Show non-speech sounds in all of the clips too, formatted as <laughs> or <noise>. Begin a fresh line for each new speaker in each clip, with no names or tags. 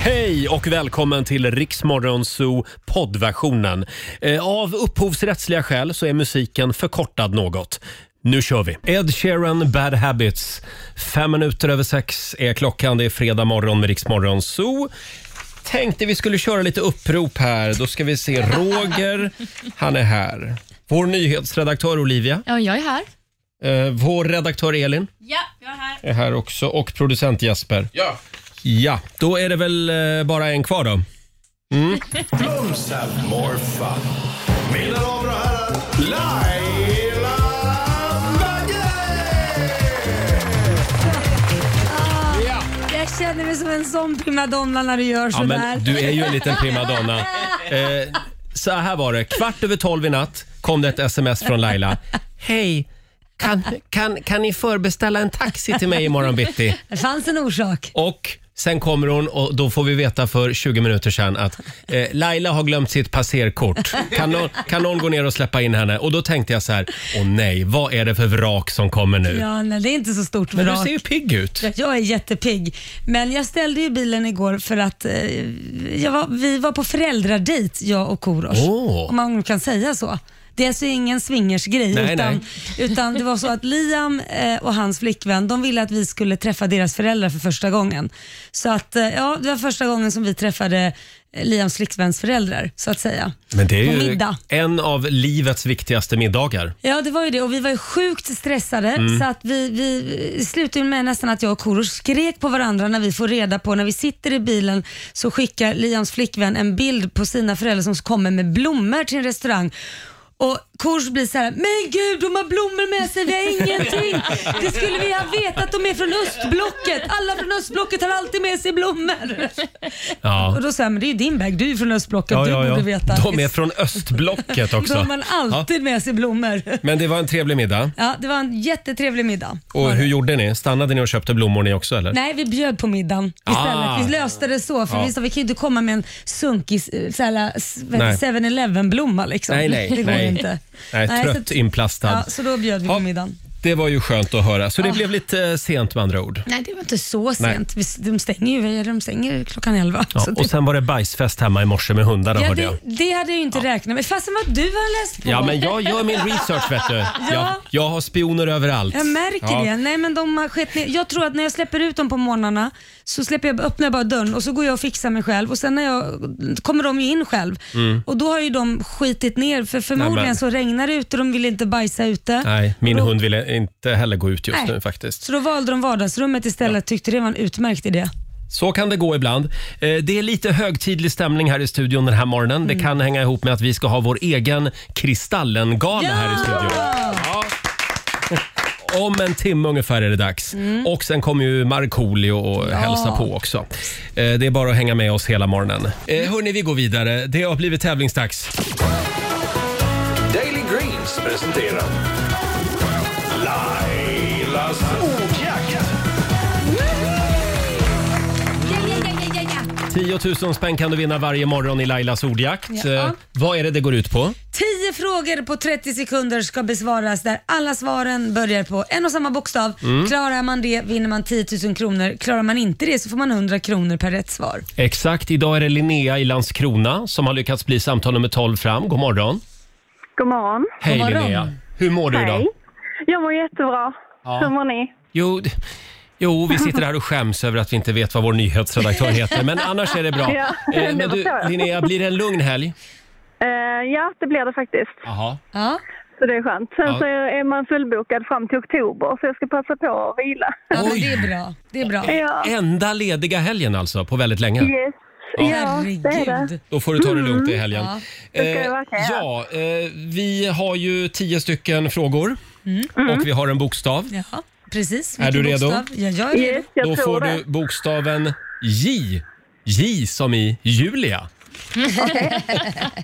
Hej och välkommen till Riksmorgon Zoo poddversionen. Eh, Av upphovsrättsliga skäl så är musiken förkortad något. Nu kör vi! Ed Sheeran, Bad Habits. Fem minuter över sex är klockan. Det är fredag morgon med Riksmorgon Zoo. Tänkte vi skulle köra lite upprop här. Då ska vi se. Roger, han är här. Vår nyhetsredaktör Olivia.
Ja, jag är här.
Eh, Vår redaktör Elin
Ja, jag är här.
är här också och producent Jesper.
Ja.
Ja, då är det väl eh, bara en kvar då.
Blooms have more fun. Mina damer och herrar, Laila Bagge!
Jag känner mig som en sån primadonna när du gör
Ja,
sådär.
men du är ju en liten primadonna. Eh, så här var det. Kvart över tolv i natt kom det ett sms från Laila. Hej, kan, kan, kan ni förbeställa en taxi till mig imorgon bitti?
Det fanns en orsak.
Och sen kommer hon och då får vi veta för 20 minuter sedan att eh, Laila har glömt sitt passerkort. Kan någon, kan någon gå ner och släppa in henne? Och då tänkte jag så här, åh nej, vad är det för vrak som kommer nu?
Ja, nej, det är inte så stort
Men du
vrak.
ser ju pigg ut.
Jag är jättepigg. Men jag ställde ju bilen igår för att eh, jag var, vi var på föräldradejt, jag och Korosh.
Åh.
Om man kan säga så. Det är alltså ingen swingersgrej.
Nej,
utan, utan det var så att Liam eh, och hans flickvän, de ville att vi skulle träffa deras föräldrar för första gången. Så att, eh, ja, det var första gången som vi träffade eh, Liams flickväns föräldrar, så att säga.
Men det är
På
ju
middag.
en av livets viktigaste middagar.
Ja, det var ju det och vi var ju sjukt stressade
Mm.
så att vi, vi slutade med nästan att jag och Korosh skrek på varandra när vi får reda på, när vi sitter i bilen så skickar Liams flickvän en bild på sina föräldrar som kommer med blommor till en restaurang. Och Kors blir så här, men gud de har blommor med sig, vi har ingenting. Det skulle vi ha vetat, de är från östblocket. Alla från östblocket har alltid med sig blommor.
Ja.
Och då säger men det är ju din bag, du är ju från östblocket,
Ja,
du
ja, ja.
borde veta.
De är från östblocket
<laughs>
också.
de har alltid med sig blommor.
Men det var en trevlig middag.
Ja, det var en jättetrevlig middag.
Och hur gjorde ni? Stannade ni och köpte blommor ni också eller?
Nej, vi bjöd på middagen istället.
Ah.
Vi löste det så, för
Ja.
vi sa vi kan ju inte komma med en sunkig eh, så här, s- vad
Nej.
heter det, 7-Eleven-blomma. Liksom.
Nej, nej,
<laughs> Det går
nej.
inte.
Nej,
så
trött
att-
inplastad.
Ja, så då bjöd vi
Ja.
på middagen.
Det var ju skönt att höra. Så det blev lite eh, sent med andra ord.
Nej, det var inte så
Nej.
sent. Vi s- De stänger ju de stänger ju klockan 11.
Ja,
så det,
och sen var det bajsfest hemma i morse med hundarna
ja,
hörde jag.
det, det hade jag ju inte räknat med. Fastän vad du har läst på.
Ja, men jag gör min
<laughs>
research vet du. Jag, jag har spioner överallt.
Jag märker
Ja.
det. Nej, men de har skett ner. Jag tror att när jag släpper ut dem på morgnarna så släpper jag, öppnar jag bara dörren och så går jag och fixar mig själv och sen när jag, kommer de ju in själv. Och då har ju de skitit ner för förmodligen
Mm. Nämen.
så regnar det ute och de vill inte bajsa ute.
Nej, min hund ville inte heller gå ut just
Nej.
nu faktiskt.
Så då valde de vardagsrummet istället tyckte det var en utmärkt idé.
Så kan det gå ibland. Eh, Det är lite högtidlig stämning här i studion den här morgonen. Det kan hänga ihop med att vi ska ha vår egen Kristallengala här i studion. Ja. Om en timme ungefär är det dags. Och sen kommer ju Markoolio och hälsa på också. Eh, Det är bara att hänga med oss hela morgonen. Eh, Hörni, vi går vidare. Det har blivit tävlingsdags.
Daily Greens presenterar Lailas ordjakt.
10 000 spänn kan du vinna varje morgon i Lailas ordjakt.
Ja.
Eh, Vad är det det går ut på?
10 frågor på 30 sekunder ska besvaras där alla svaren börjar på en och samma bokstav.
Mm.
Klarar man det vinner man 10 000 kronor. Klarar man inte det så får man 100 kronor per rätt svar.
Exakt, idag är det Linnea i Landskrona som har lyckats bli samtal nummer 12 fram. God morgon.
God morgon.
Hej
God morgon.
Linnea. Hur mår du idag?
Hej. Jag mår jättebra. Hur mår ni?
Jo, d- jo, vi sitter här och skäms över att vi inte vet vad vår nyhetsredaktör heter, men annars är det bra.
<laughs> Ja,
Eh,
det
men du,
förstår jag.
Linnea, blir det en lugn helg?
Eh, ja, det blir det faktiskt.
Jaha.
Ja.
Så det är skönt. Sen
Ja.
så är man fullbokad fram till oktober så jag ska passa på att vila.
Ja, men
Oj.
det är bra. Det är bra.
Ja,
Enda lediga helgen alltså, på väldigt länge.
yes. Ja, det är det.
Herregud.
Då får du ta det lugnt i helgen.
Ja,
det ska jag verkligen göra.
ja, eh, vi har ju tio stycken frågor
Mm.
och vi har en bokstav.
Ja, precis.
Är du redo?
bokstav? Ja, jag är redo.
Yes, jag
Då
tror
får
det.
du bokstaven J. J som i Julia.
<laughs>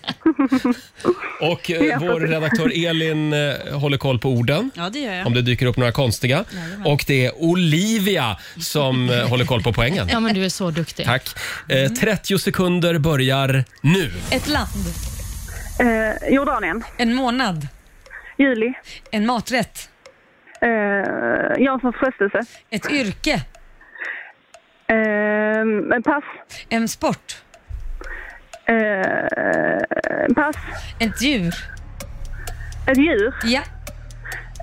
Och eh,
Ja,
vår
precis.
redaktör Elin eh, håller koll på orden.
Ja, det gör jag.
Om det dyker upp några konstiga. Och det är Olivia som eh, håller koll på poängen.
Ja, men du är så duktig.
Tack. Eh, 30 sekunder börjar nu.
Ett land,
Eh, Jordanien.
en månad,
Juli.
en maträtt,
Eh, Janssons frestelse.
ett yrke,
Eh, Ehm, men pass.
En sport?
Ehm, Eh, pass.
Ett djur?
Ett djur.
Ja.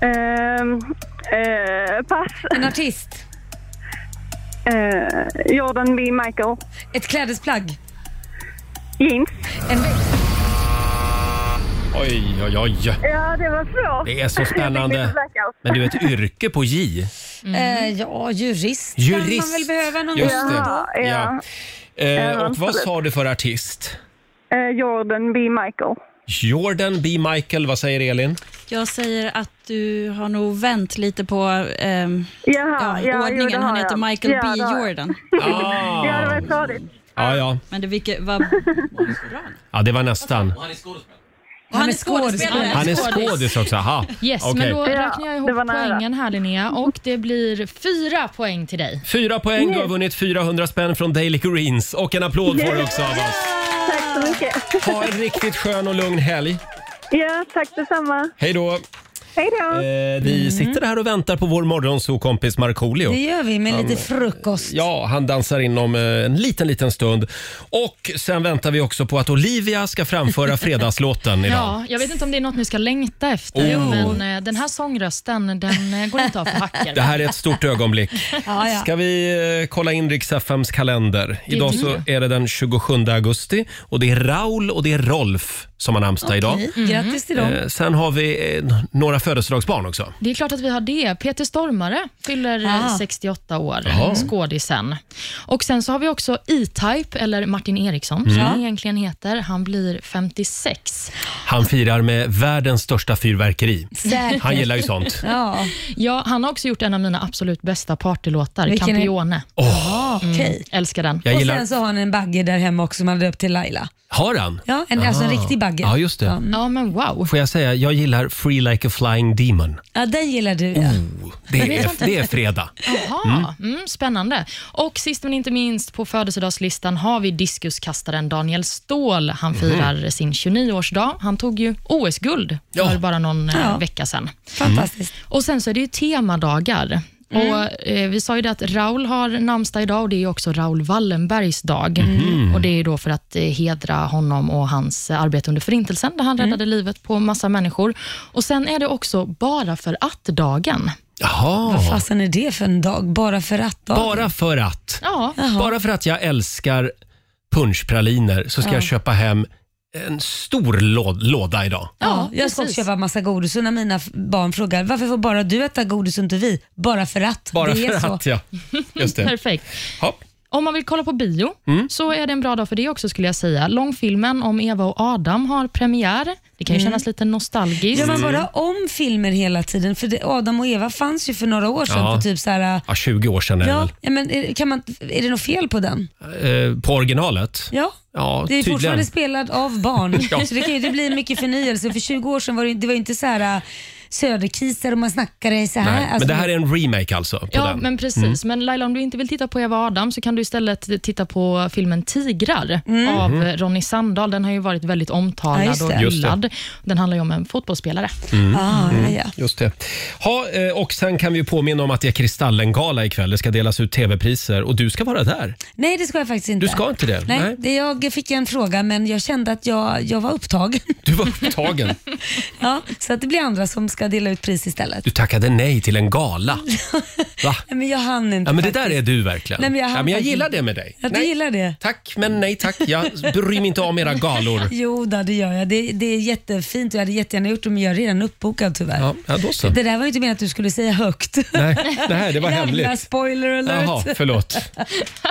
Ehm, eh, pass.
En artist?
Ehm, Jordan B. Michael.
Ett klädesplagg?
Jeans.
En växt?
Oj, oj, oj.
Ja, det var svårt.
Det är så
Jag fick lite
spännande.
blackout.
Men du, ett yrke på J.
Eh, ja, jurist, kan man
Mm. Jurist.
väl behöva någon
Just
gång
det.
ändå.
Ja, ja.
Eh, och vad
absolut.
sa du för artist?
Eh, Jordan B. Michael.
Jordan B. Michael, vad säger Elin?
Jag säger att du har nog vänt lite på ehm,
Jaha,
ja,
ja, jo,
ordningen.
det
Han
har
heter
jag.
Michael
ja,
B.
det har jag.
Jordan.
Ah.
Ja, det var stadigt.
Ja, ja.
Men det vilket, vad,
ja, det var nästan.
han,
är
är skådespelare.
skådespelare.
Han är skådis också. Aha.
Yes,
Okej.
men då
Ja,
räknar jag ihop
det var nära. Mm.
poängen här Linnea och det blir fyra poäng till dig.
Fyra poäng, du har vunnit 400 spänn från Daily Greens och en applåd får du också av oss.
Tack så mycket.
Ha en riktigt skön och lugn helg.
Ja, tack detsamma.
Hej då!
Hej då!
Eh, vi sitter här och väntar på vår morgonsokompis Markoolio.
Det gör vi med lite frukost.
Ja, han dansar inom eh, en liten, liten stund. Och sen väntar vi också på att Olivia ska framföra fredagslåten idag.
Ja, jag vet inte om det är något ni ska längta efter,
Oh.
men eh, den här sångrösten den eh, går inte av för hacker.
<laughs> Det här är ett stort ögonblick.
Ja, ja.
Ska vi eh, kolla in Rix FMs kalender? Idag så är det den 27 augusti och det är Raul och det är Rolf som har namnsdag idag.
Okej, Mm. Grattis till dem.
Eh, Sen har vi eh, n- några födelsedagsbarn också.
Det är klart att vi har det. Peter Stormare fyller eh,
Ah.
68 år, eh, skådisen. Och sen så har vi också E-Type, eller Martin Eriksson som
Mm.
han egentligen heter. Han blir 56.
Han firar med världens största fyrverkeri.
Säkert.
Han gillar Mm. ju sånt.
Ja,
Ja, han har också gjort en av mina absolut bästa partylåtar,
Vilken är-
Campione.
okej.
Älskar den.
Jag
Och
gillar...
sen så har han en bagge där hemma också som han döpt till Laila.
Har han?
Ja, en, alltså en
Ah.
riktig bagge.
Ja, just det.
Ja.
Ja, men wow.
Får jag säga, jag gillar Free Like a Flying Demon.
Ja, den gillar du ja.
Oh, det, är, det är fredag.
Jaha, mm. spännande. Och sist men inte minst på födelsedagslistan har vi diskuskastaren Daniel Ståhl.
Mhm.
Han firar sin 29-årsdag. Han tog ju OS-guld för
Ja.
bara någon eh,
Ja.
vecka sedan.
Fantastiskt.
Och Sen så är det ju temadagar.
Mm.
Och, eh, vi sa ju det att Raul har namnsdag idag och det är ju också Raul Wallenbergs dag.
Mhm.
Och Det är ju då för att eh, hedra honom och hans eh, arbete under Förintelsen, där
Mm.
han räddade livet på massa människor. Och Sen är det också bara för att-dagen.
Vad
Jaha.
fasen är det för en dag? Bara för att dag?
Bara för att.
Ja,
Bara för att jag älskar punschpraliner så ska jag köpa hem en stor lå- låda idag.
Ja, jag ska också
precis.
köpa massa godis och när mina f- barn frågar varför får bara du äta godis och inte vi? Bara för att.
Bara
det är
för
så. <laughs>
att, ja. Just det.
Perfekt.
Ja.
Om man vill kolla på bio
Mm.
så är det en bra dag för det också skulle jag säga. Långfilmen om Eva och Adam har premiär. Det
Mm.
kan ju kännas lite nostalgiskt.
Gör man
Mm.
bara om filmer hela tiden? För det, Adam och Eva fanns ju för några år sedan
Ja.
på typ så här.
ja, 20 år sedan är det
Ja,
väl.
ja, men är, kan man, är det något fel på den?
Eh, på originalet?
Ja.
Ja,
Det är
tydligen.
fortfarande spelad av
<laughs>
barn, så det, kan ju, det blir mycket förnyelse. För 20 år sedan var det, det var ju inte så här äh, söderkisar och man snackade så här.
Nej, men det här är en remake alltså? På
Ja,
den.
men precis.
Mm.
Men Laila, om du inte vill titta på Eva och Adam så kan du istället titta på filmen Tigrar av Ronny Sandahl. Den har ju varit väldigt
Mm. Ja,
omtalad
just det.
och
Just det.
hyllad. Den handlar ju om en fotbollsspelare.
ah,
Mm.
ja, ja.
Just det. Ha, eh, och sen kan vi ju påminna om att det är Kristallengala ikväll. Det ska delas ut tv-priser och du ska vara där.
Nej, det ska jag faktiskt inte.
Du ska inte det?
Nej,
Nej.
Det, jag fick en fråga men jag kände att jag, jag var upptagen. <laughs>
Du var upptagen.
ja, så att det blir andra som ska dela ut pris istället.
Du tackade nej till
<laughs>
en gala. Va?
Nej, men jag hann inte.
Ja, men det
faktiskt.
där är du verkligen.
Nej, men jag hann
ja, men jag
faktiskt
gillar
inte.
det med dig.
Ja, du
Nej,
gillar det?
Tack, men nej tack. Jag bryr mig inte om
<laughs>
era galor.
Jo, då, det gör jag. Det, det är jättefint och jag hade jättegärna gjort det men jag är redan uppbokad tyvärr.
Ja, ja då så.
Det där var ju inte menat att du skulle säga högt.
Nej, nej, det
<laughs> Jävla
var hemligt.
spoiler alert.
Jaha, förlåt.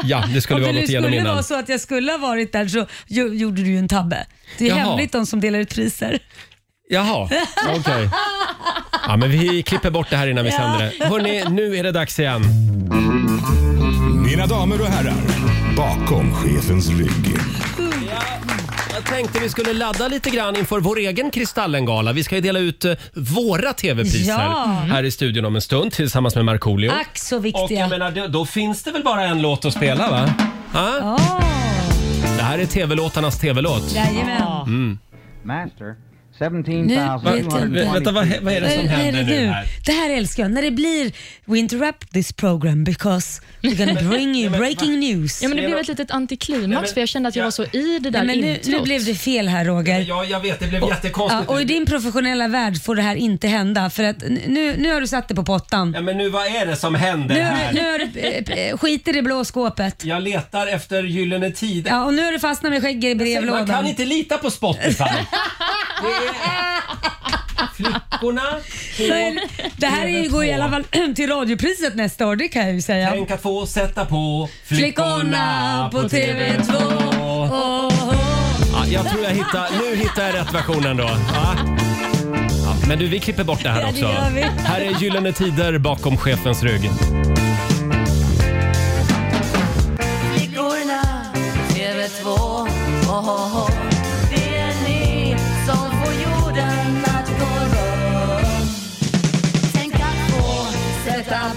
Ja, det skulle
Om det
vi ha
nu
gått igenom
skulle
innan.
vara så att jag skulle ha varit där så ju, gjorde du ju en tabbe. Det är
Jaha.
hemligt de som delar ut priser.
Jaha, okej. Ja, men vi klipper bort det här innan vi sänder det. Hörrni, nu är det dags igen.
Mina damer och herrar, bakom chefens rygg.
Jag tänkte vi skulle ladda lite grann inför vår egen Kristallengala. Vi ska ju dela ut eh, våra tv-priser
Ja.
här i studion om en stund tillsammans med Markoolio.
Ack så
Och jag
viktiga.
menar, då- då finns det väl bara en låt att spela va? Ja?
Åh,
Det här är tv-låtarnas tv-låt.
Ah, Jajamän.
Master,
17,220.
Vä- Vänta, vad, vad är det som
Vad är
händer nu här?
Det här älskar jag, när det blir We interrupt this program because we're
<laughs>
gonna bring you breaking news.
Ja, men det blev ett litet antiklimax
men-
för jag kände att jag
ja.
var så i det där
Nej, men nu,
introt.
nu blev det fel här Roger.
Ja, jag vet. Det blev
Ja,
jättekonstigt.
och i din professionella värld får det här inte hända för att n- nu, nu har du satt det på pottan.
Ja, men nu, vad är det som händer
Nu har
här?
du, nu har du eh, eh, skit i det blå skåpet.
Jag letar efter Gyllene Tider.
Ja, och nu har du fastnat med skägget i
Man kan
brevlådan.
inte lita
<laughs>
på Spotify. Det är... Flickorna på...
Det här är ju, går i alla fall <clears throat> till radiopriset nästa år, det kan jag ju säga.
Tänk att få sätta på
Flickorna på TV2. Åh, åh.
Ja, jag tror jag hittar, nu hittar jag rätt versionen då. Ja. Ja, men du, vi klipper bort det här
Ja, det
också.
gör vi.
Här är Gyllene Tider bakom chefens rygg.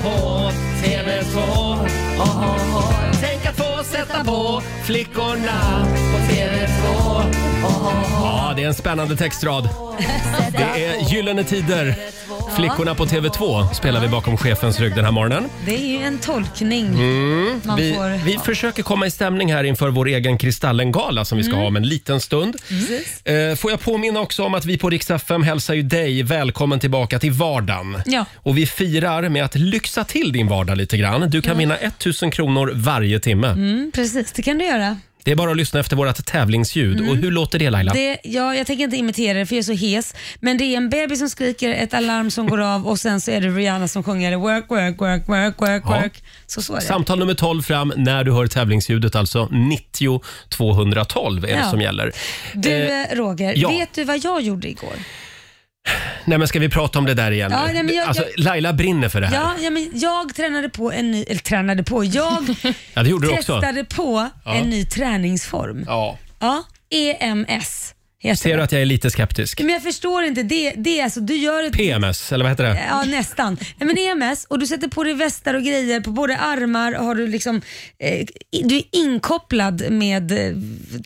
på TV2. Oh, oh, oh. Tänk att få sätta på flickorna på TV2. Ja, det är en spännande textrad. Det är Gyllene Tider. Flickorna på TV2 spelar vi bakom chefens rygg den här morgonen.
Det är ju en tolkning man
Mm. Vi,
får.
vi försöker komma i stämning här inför vår egen Kristallengala som vi ska ha om en liten stund.
Mm.
Eh, Får jag påminna också om att vi på Rix FM hälsar ju dig välkommen tillbaka till vardagen.
Ja.
Och vi firar med att lyxa till din vardag lite grann. Du kan vinna 1000 kronor varje timme.
Mm, precis, det kan du göra.
Det är bara att lyssna efter vårt tävlingsljud. Och hur låter det Laila?
Mm. Det, ja, jag tänker inte imitera det för jag är så hes. Men det är en bebis som skriker, ett alarm som går av och sen så är det Rihanna som sjunger work, work, work, work, work,
Ja.
work. Så så är det.
Samtal nummer 12 fram när du hör tävlingsljudet, alltså 90 212 är det
Ja.
som gäller.
Du
Eh,
eh, Roger,
ja.
vet du vad jag gjorde igår?
nej men ska vi prata om det där igen?
Ja, nej, men jag-
alltså,
jag-
Laila brinner för det här.
Ja, ja, men jag tränade på en ny, eller tränade på, jag
Ja, det gjorde <laughs> du också.
testade på en ny träningsform. Ja.
Ja.
EMS heter
Ser du
det.
att jag är lite skeptisk?
Men jag förstår inte, det, det är alltså, du gör ett
PMS, eller vad heter det?
Ja nästan. Nej, men EMS och du sätter på dig västar och grejer på både armar och har du liksom, eh, du är inkopplad med eh,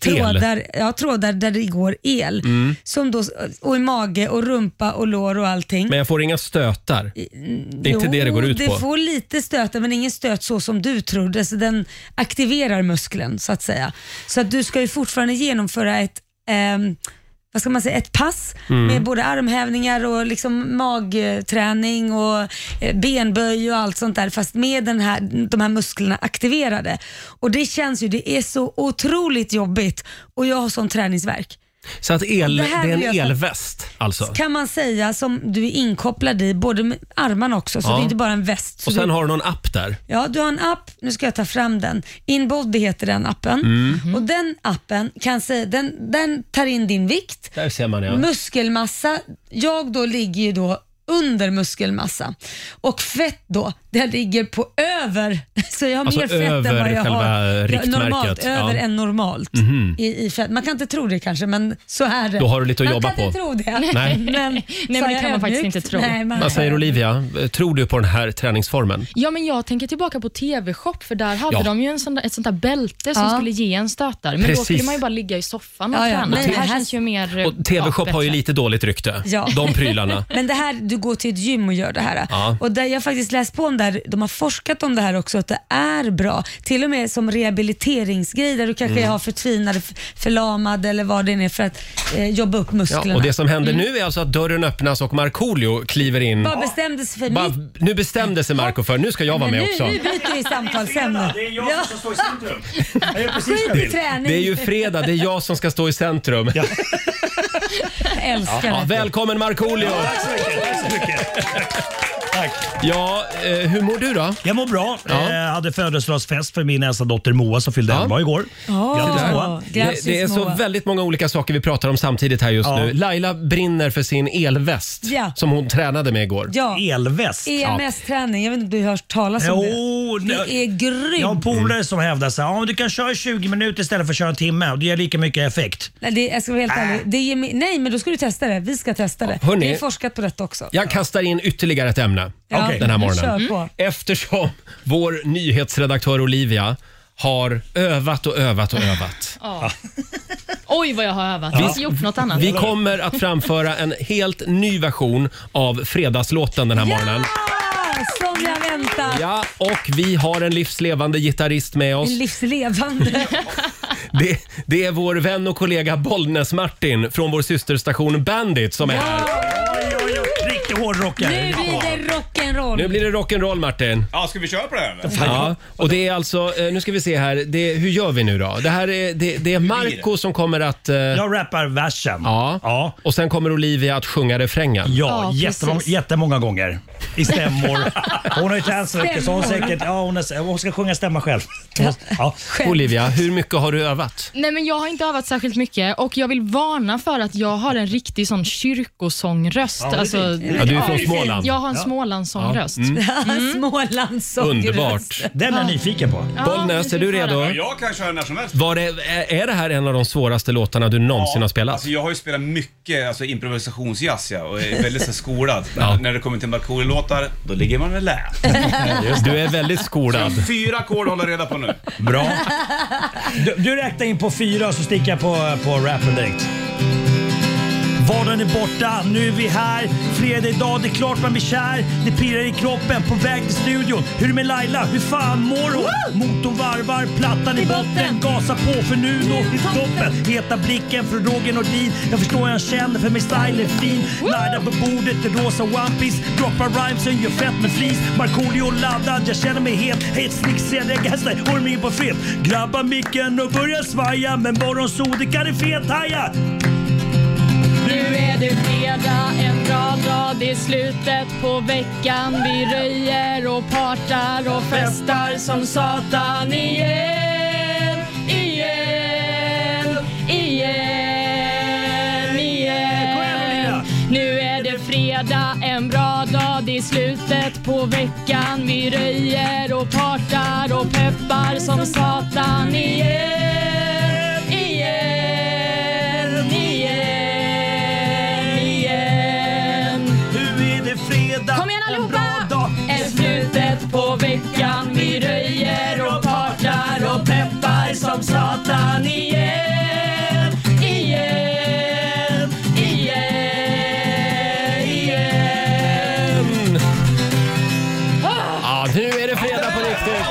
trådar, ja, trådar där det går el. Som då, och i mage och rumpa och lår och allting.
Men jag får inga stötar. Det är inte det det går ut
det
på.
får lite stötar men ingen stöt så som du trodde. Så den aktiverar muskeln så att säga. Så att du ska ju fortfarande genomföra ett ehm, vad ska man säga, ett pass
Mm.
med både armhävningar och liksom magträning och eh, benböj och allt sånt där fast med den här, de här musklerna aktiverade. Och det känns ju, det är så otroligt jobbigt och jag har sån träningsverk
Så att el, det,
Det här
är en
vill jag-
elväst alltså.
kan man säga som du är inkopplad i, både med armarna också, så
Ja.
det är inte bara en väst. Så
Och sen
du,
har du någon app där.
Ja, du har en app, nu ska jag ta fram den. Inbody heter den appen.
Mm.
Mhm.
Och den appen kan säga, den, den tar in din vikt,
Där ser man ja.
muskelmassa. Jag då ligger ju då under muskelmassa och fett då, det ligger på över. <laughs> Så jag har
Alltså
mer fett än
över
vad jag
själva
har. Ja,
riktmärket,
Normalt,
ja. Mhm.
över än normalt i, i fett. Man kan inte tro det kanske, men så är det.
Då har du lite att
man
jobba
kan inte
på.
tro det. <laughs>
Nej.
Men,
men
sa
det
jag
kan man faktiskt
ödmjukt?
inte tro.
Nej, man-
Vad säger Olivia? Tror du på den här träningsformen?
Ja, men jag tänker tillbaka på TV-shop, för där hade
Ja.
de ju en sån där, ett sånt där bälte som
Ja.
skulle ge en stötar. Men
Precis.
då skulle man ju bara ligga i soffan och
Ja, ja.
träna.
Nej,
det här
här-
känns ju mer... eh,
Och TV-shop
ja,
har ju
bättre.
lite dåligt rykte.
Ja. <laughs>
De prylarna.
Men det här, du går till ett gym och gör det här.
Ja.
Och där jag har faktiskt läst på om det här, de har forskat om det här också, att det är bra. Till och med som rehabiliteringsgrej där du kanske
Mm.
har förtvinad, f- förlamad eller vad det än är för att eh, jobba upp musklerna.
Ja, och det som händer nu är alltså att dörren öppnas och Markoolio kliver in.
Mm. Vad bestämdes för
Bara,
mitt...
nu bestämde sig Marco för nu ska jag vara
Men
med
nu,
också.
nu byter vi samtalsämne.
Det är jag
Ja,
som står i centrum. Jag gör precis
skit
vad jag
i
vill.
träning.
Det är ju fredag, det är jag som ska stå i centrum. Ja.
Jag älskar det.
välkommen Markoolio!
Tack så mycket. Tack så mycket. Tack.
Ja, eh, hur mår du då?
Jag mår bra.
Ja.
Jag hade födelsedagsfest för min äldsta dotter Moa som fyllde
Ja.
11 igår. Grattis
Åh,
Moa.
Det,
grattis
det är så
Moa.
väldigt många olika saker vi pratar om samtidigt här just
Ja.
nu. Laila brinner för sin elväst
Ja.
som hon tränade med igår.
Ja,
Elväst.
EMS-träning. Jag vet inte om du har hört talas om
Jo,
det? Det
nej.
är grymt.
Jag har en
Mm.
polare som hävdar så här, "Ja, men du kan köra 20 minuter istället för att köra en timme och det ger lika mycket effekt.
Nej, det, jag ska vara helt ärlig. Det ger mig, nej, men då ska du testa det. Vi ska testa det.
Äh. hörni.
det är forskat på detta också.
Jag kastar in ytterligare ett ämne
Ja,
Okej.
den här
Kör
morgonen. Mm.
på.
Eftersom vår
<laughs>
nyhetsredaktör Olivia har övat och övat och övat.
Oj, vad jag har övat. Jag har inte gjort något annat.
Vi kommer att framföra en helt ny version av Fredagslåten den här morgonen.
Ah, som jag väntat.
Ja, och vi har en livslevande gitarrist med oss.
En
<laughs>
livslevande.
Det, det är vår vän och kollega Bollnäs-Martin från vår systerstation Bandit som är här.
Oj, oj, oj. Riktig
Ah. Nu
hårdrockare.
blir det
Nu
rock'n'roll.
blir det rock'n'roll Martin.
Ja, ska vi köra på det här eller?
Ja, och det är alltså, eh, nu ska vi se här, det, hur gör vi nu då? Det här är, det, det är Marco som kommer att... eh,
Jag rappar versen.
Ja.
Ja.
Och sen kommer Olivia att sjunga refrängen.
Ja,
Ja,
jättemånga,
precis.
jättemånga gånger.
<laughs>
I stämmor. Hon har ju transvecka så hon,
Stämmor.
säkert, ja, hon, är, hon ska sjunga stämma själv. Ja.
Olivia, hur mycket har du övat?
Nej, men jag har inte övat särskilt mycket och jag vill varna för att jag har en riktig sån kyrkosångröst.
det är
alltså,
Ja, du är från Mm. Småland.
Jag har en Smålandssångröst.
Ah, Smålandssångröst.
Underbart.
Den är jag nyfiken på.
Ja,
Bollnäs,
vi
är du
får höra.
redo?
Ja, jag kan köra när som helst.
Var det, är- är det här en av de svåraste låtarna du någonsin har spelat?
Alltså, jag har ju spelat mycket alltså, improvisationsjazz ja, och är väldigt så, här, skolad. Men När det kommer till Markoolio-låtar, då ligger man väl lä.
Du är väldigt skolad.
Fyra ackord håller jag reda på nu.
<laughs>
Bra. Du, du räknar in på fyra så sticker jag på, på rappen direkt. Vardagen är borta, nu är vi här. Fredag idag, det är klart man blir kär. Det pirrar i kroppen, på väg till studion. Hur är det med Laila? Hur fan mår hon? Motorn varvar, plattan i
I
botten.
botten.
Gasa på för nu når vi toppen. Heta blicken från Roger Nordin. Jag förstår hur han känner för min style är fin. Laila på bordet i rosa One Piece Droppar rhymesen, gör fett med flis. Markoolio laddad, jag känner mig het. Het snickseende gangster, orming på fet. Grabbar micken och börjar svaja. Men morgonsol, det kan det fethaja.
Nu är det fredag, en bra dag. Det är slutet på veckan. Vi röjer och partar och festar som satan igen, igen, igen, igen. Nu är det fredag, en bra dag. Det är slutet på veckan. Vi röjer och partar och peppar som satan igen, igen, igen, igen.
Nu är det fredag.
Kom igen allihopa!
En bra dag.
Är slutet på veckan Vi röjer och partar och peppar som satan igen Igen, igen, igen
Ja, Mm. Ah, nu är det fredag på riktigt!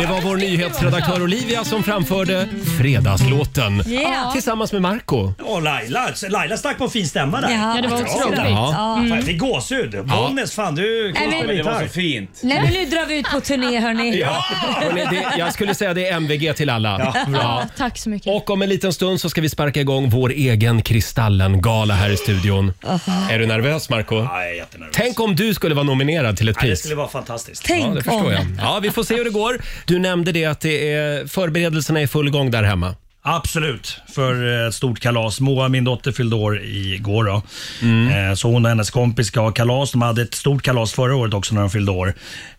Det var vår nyhetsredaktör Olivia som framförde Fredagslåten
Yeah.
tillsammans med Marco.
Och Laila, Laila stack på en fin stämma där.
Ja.
Ja, det var otroligt.
Ja.
Fan, jag fick gåshud. Bollnäs, fan du kan
Nej,
spela
men-
Det var så
gitarr.
fint.
Nej, men nu drar vi ut på turné hörni.
Hörrni, det, jag skulle säga det är MVG till alla. Ja.
Tack så mycket.
Och om en liten stund så ska vi sparka igång vår egen Kristallen-gala här i studion. Är du nervös Marco?
Ja, jag är jättenervös.
Tänk om du skulle vara nominerad till ett
Nej, det
pris.
skulle vara fantastiskt.
Ja, det
Tänk
förstår
om.
jag. Ja, vi får se hur det går. Du nämnde det att det är, förberedelserna är i full gång där hemma.
Absolut, för eh, ett stort kalas. Moa, min dotter, fyllde år igår. Då.
Mm.
Eh, Så hon och hennes kompis ska ha kalas. De hade ett stort kalas förra året också när de fyllde år.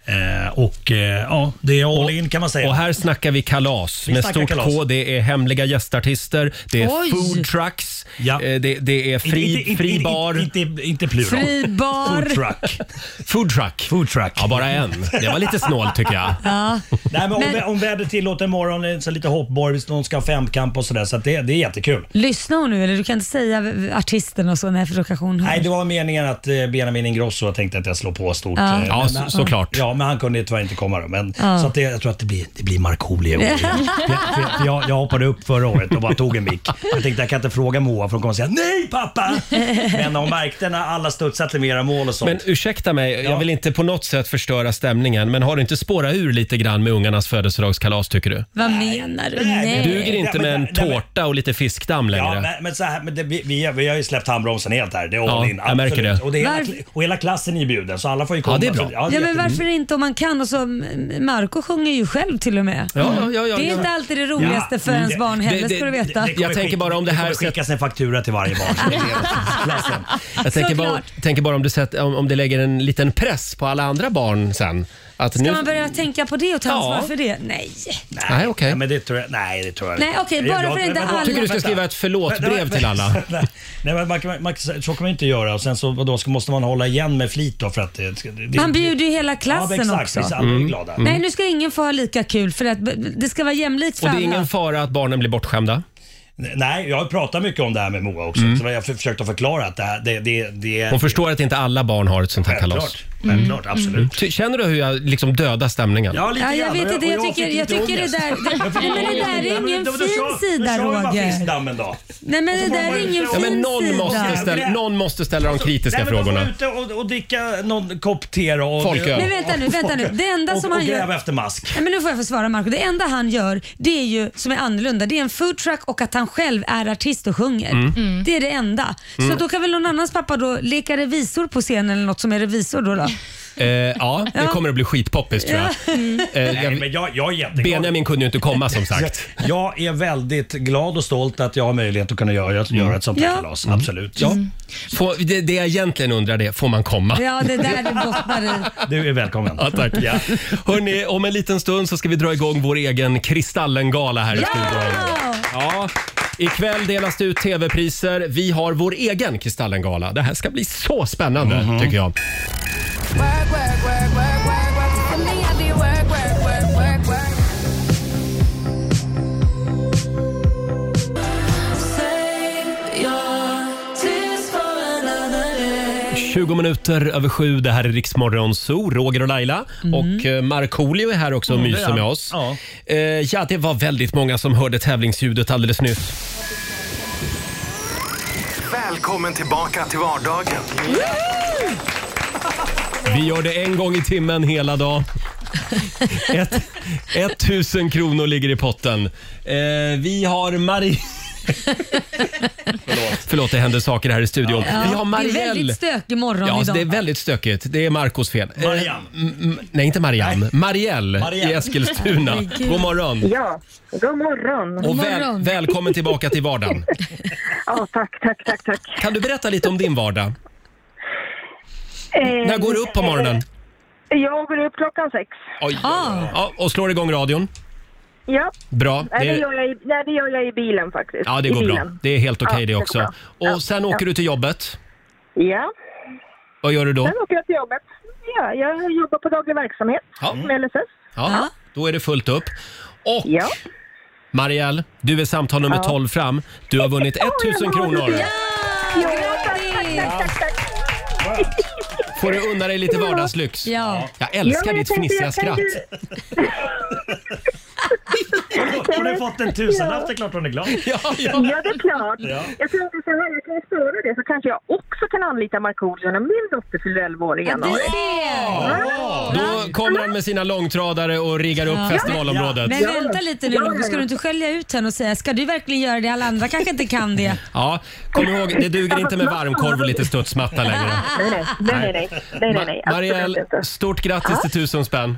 Eh, Och eh, ja, det är all in kan man
Och
säga.
här snackar vi kalas med
snackar
stort
kalas.
K. Det är hemliga gästartister, det är
Oj!
food trucks,
Ja.
eh, det, det är fri,
Inte- inte-
fri
inte-
bar.
Inte, inte, inte plural.
Fri
Food
bar.
truck.
<laughs> Food truck.
Food truck.
Ja, bara en. Det var lite snålt tycker jag.
Nej, men om, vä- om vädret tillåter imorgon, eh, så lite hoppborg, någon ska ha femkamp och sådär. Så att det, det är jättekul.
Lyssna hon nu eller? Du kan inte säga v- artisten och så när provokation
Nej,
hörs.
det var meningen att eh, Benjamin Ingrosso jag tänkte att jag slår på stort. eh, men-
Ja, så- såklart.
Ja, men han kunde ju tyvärr inte komma då. Men, Så att det, jag tror att det blir, det blir Markoolio
<laughs>
i år igen. För- för- för jag, jag hoppade upp förra året och bara tog en mick. Jag tänkte jag kan inte fråga Moa för hon kommer säga nej pappa. Men hon märkte när alla studsade till mera mål och sånt.
Men ursäkta mig, jag vill inte på något sätt förstöra stämningen, men har du inte spårat ur lite grann med ungarnas födelsedagskalas tycker du?
Vad menar du?
Nej,
Nej.
det
Duger inte
Nej,
med
men-
en
nej, men-
tårta och lite fiskdamm
Ja,
längre?
men, men, så här, men det, vi, vi, vi har ju släppt handbromsen helt här. Det är all
Ja,
in.
jag märker
absolut.
det.
Och, det är hela,
Varför-
och hela klassen är ju bjuden så alla får ju komma.
det är bra.
Så-
Ja, men
jättemycket.
varför inte om man kan? Och så, M- Marco sjunger ju själv till och med.
Ja, ja, ja, ja,
det är
ja.
inte alltid det roligaste
Ja,
för ens
det-
barn
det-
heller
det-
ska du veta.
det- Jag tänker bara om det här
kommer skickas en faktura till varje barn.
<laughs>
Det är klassen.
Jag tänker bara,
Såklart.
tänker bara om, du sätter, om, om det lägger en liten press på alla andra barn sen. Att
Ska
nu...
man börja tänka på det och ta
Ja.
ansvar för det? Nej.
Nej, okej.
Nej, men det tror jag, nej, det tror jag
Nej,
inte.
okej, bara
Jag-
för att inte
vadå?
alla-
tycker du ska
Vänta.
skriva ett förlåt-brev
Vänta,
<laughs>
till alla.
<laughs> Nej, men man, kan- man, kan- så kan man ju inte göra. Och sen så, vadå, så måste man hålla igen med flit då för att det, det, det
Man bjuder ju hela
ja, men
klassen
exakt,
också. Mm.
Precis,
Mm.
alla är glada.
Nej, nu ska ingen få ha lika kul för att b- det ska vara jämlikt för
Och det
alla.
är ingen fara att barnen blir bortskämda?
Nej, jag har pratat mycket om det här med Moa också. Så jag har försökt att förklara att det här, det, det, det är...
Mm. Hon förstår att inte alla barn har ett sånt här kalas. Mm.
Självklart, självklart absolut.
Ty- Känner du hur jag liksom dödar stämningen?
Ja, lite
Mm. Ja,
grann.
jag vet inte,
Och
jag tycker,
fick
jag
lite
tycker det
ångest.
där, det, nej, men det där är ingen
Då- då- då
fin
kör-
sida
då kör man
Roger.
fiskdammen då.
Nej men det
får
där
man
är
ju
ingen
dra-
Ja,
fin
men någon,
sida.
måste ställa, någon måste ställa de kritiska
Alltså, Nej, men
frågorna.
De får vara ute och, och dricka någon kopp te då och,
Folköl.
och,
Men vänta nu, vänta nu. Det enda som
och,
han
och
gör...
gräva efter mask.
Nej, men nu får jag försvara Marco. Det enda han gör, det är ju som är annorlunda, det är en foodtruck och att han själv är artist och sjunger.
Mm.
Det är det enda. Så då kan väl någon annans pappa då leka revisor på scenen eller något som är revisor då. då.
Eh, ja, det kommer att bli skitpoppis tror jag. Eh,
Nej,
jag.
men jag, jag är jätteglad.
Benjamin kunde ju inte komma som sagt.
Jag är väldigt glad och stolt att jag har möjlighet att kunna göra, göra
Mm.
ett sånt här
Ja.
kalas. Absolut. Mm. Ja.
Får, det, det jag egentligen undrar det, får man komma?
Ja, det där det bottnar i.
<laughs>
Du är välkommen.
Ja, tack.
Ja.
Hörni, om en liten stund så ska vi dra igång vår egen Kristallengala här i studion.
Ja!
Ja, ikväll delas det ut tv-priser. Vi har vår egen Kristallengala. Det här ska bli så spännande tycker jag.
Save your tears for another day.
20 minuter över sju. Det här är Riksmorgon Zoo, Roger och Laila. Och eh, Markoolio är här också och myser med oss.
Ja.
Eh, ja, det var väldigt många som hörde tävlingsljudet alldeles nyss.
Välkommen tillbaka till vardagen.
Vi gör det en gång i timmen hela dagen. Ett, 1000 kronor ligger i potten. Eh, vi har Marie... Förlåt. Förlåt, det händer saker här i studion. Vi har
Det är
Marielle.
väldigt stökig morgon
Ja, så
idag.
det är väldigt stökigt. Det är Marcos fel. Eh,
Marianne.
m- m- nej, inte Marianne. Marielle,
Marianne.
i
<laughs>
Eskilstuna. God morgon.
Ja, god morgon.
Och
God
väl,
morgon.
välkommen tillbaka till vardagen.
Ja, tack, tack, tack, tack.
Kan du berätta lite om din vardag?
Eh,
När går du upp på morgonen?
Jag går upp klockan sex.
Oj, ja, och slår igång radion?
Ja,
Bra.
nej, det,
Det,
gör jag i, nej, det gör jag i bilen faktiskt.
ja, det
I
går bra.
bilen.
Det är helt okej
Ja,
det
går
också.
bra. Ja,
Och sen åker du till jobbet.
Ja,
Vad gör du då?
sen åker jag till jobbet. Ja, jag jobbar på daglig verksamhet
Ja.
med LSS.
Ja, då är det fullt upp. Och
Ja.
Marielle, du är samtal nummer 12 fram. Du har vunnit 1000 kronor.
Ja, tack, tack, tack, tack, tack.
Får du unna dig lite vardagslyx.
Ja.
Jag
Ja,
älskar
men jag
ditt
tänkte,
fnissiga
jag kan
skratt.
ju-
Hon har fått en tusenlapp, det är klart hon är glad.
<laughs> Ja, ja.
Ja, det är klart. Jag tänkte så här, jag kan spara det så kanske jag också kan anlita Markoolio när min dotter fyller 11 år i
Du
januari.
ser!
Då kommer han med sina långtradare och riggar upp festivalområdet.
Men vänta lite nu Roger, ska du inte skölja ut henne och säga ska du verkligen göra det? Alla andra kanske inte kan det.
Ja, kom ihåg, det duger inte med varmkorv och lite
<laughs>
studsmatta längre.
Nej, nej, nej, nej, nej, nej, nej, nej
Ma-
absolut
Marielle,
inte.
stort grattis till tusen spänn.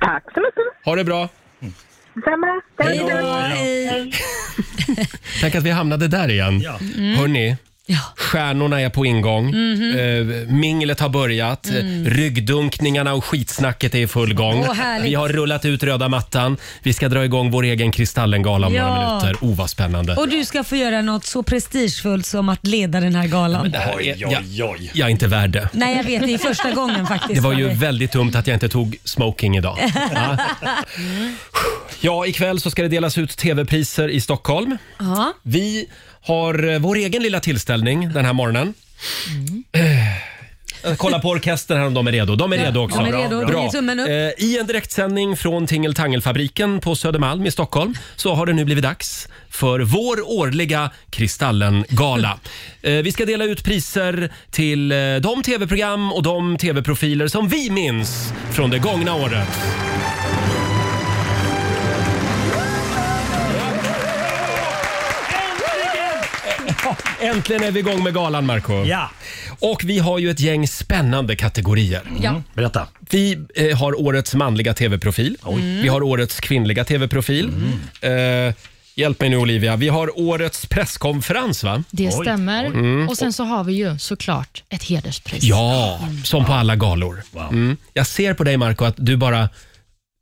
Tack så mycket.
Ha det bra.
Detsamma. Hej då.
Tänk att vi hamnade där igen.
Ja.
Mm.
Hörni,
Ja.
stjärnorna är på ingång.
Mhm.
Eh, minglet har börjat. Eh, Ryggdunkningarna och skitsnacket är i full gång.
Mm. Åh, härligt.
vi har rullat ut röda mattan. Vi ska dra igång vår egen Kristallengala om några
Ja.
minuter. Oh, vad spännande.
Och du ska få göra något så prestigefullt som att leda den här galan.
Det här är-
Oj, oj, oj.
Jag är inte värd det.
Nej jag vet, det är första gången faktiskt.
Det var ju
Roger.
väldigt dumt att jag inte tog
<laughs>
smoking idag. Ja.
Mm.
Ja, ikväll så ska det delas ut tv-priser i Stockholm.
Ja.
Vi har eh, vår egen lilla tillställning den här morgonen. Eh, Kolla på orkestern här om de är redo. De är redo också.
de är redo. De ger tummen upp.
Eh, I en direktsändning från Tingle Tangle-fabriken på Södermalm i Stockholm så har det nu blivit dags för vår årliga Kristallen-gala. Eh, Vi ska dela ut priser till eh, de tv-program och de tv-profiler som vi minns från det gångna året. Äntligen är vi igång med galan, Marco.
Ja,
Och vi har ju ett gäng spännande kategorier.
berätta.
Vi eh, har årets manliga tv-profil. Vi har årets kvinnliga tv-profil. Eh, Hjälp mig nu Olivia, vi har årets presskonferens va?
Det stämmer.
Mm.
Och sen så har vi ju såklart ett hederspris.
Ja, som på alla galor. Mm. Jag ser på dig Marco att du bara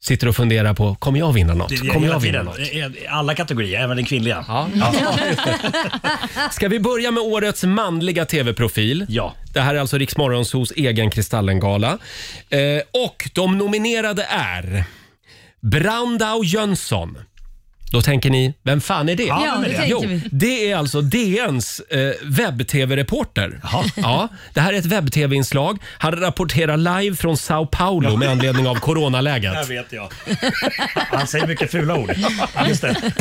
sitter och funderar på, kommer jag vinna något? Kommer
Hela
jag vinna
tiden.
något?
I Eh, Alla kategorier, även den kvinnliga.
Ska vi börja med årets manliga tv-profil? Ja. Det här är alltså Rix Morgonzos egen Kristallengala. Eh, och de nominerade är Brandao Jönsson. Då tänker ni, vem fan är det?
Ja, Ja, vem är det det?
jo,
tänker vi.
det är alltså DNs eh, webb-tv-reporter. Ja, det här är ett webb-tv-inslag. Han rapporterar live från Sao Paulo med anledning av
Det här
coronaläget.
vet jag. Han säger mycket fula
<laughs>
ord. Just det.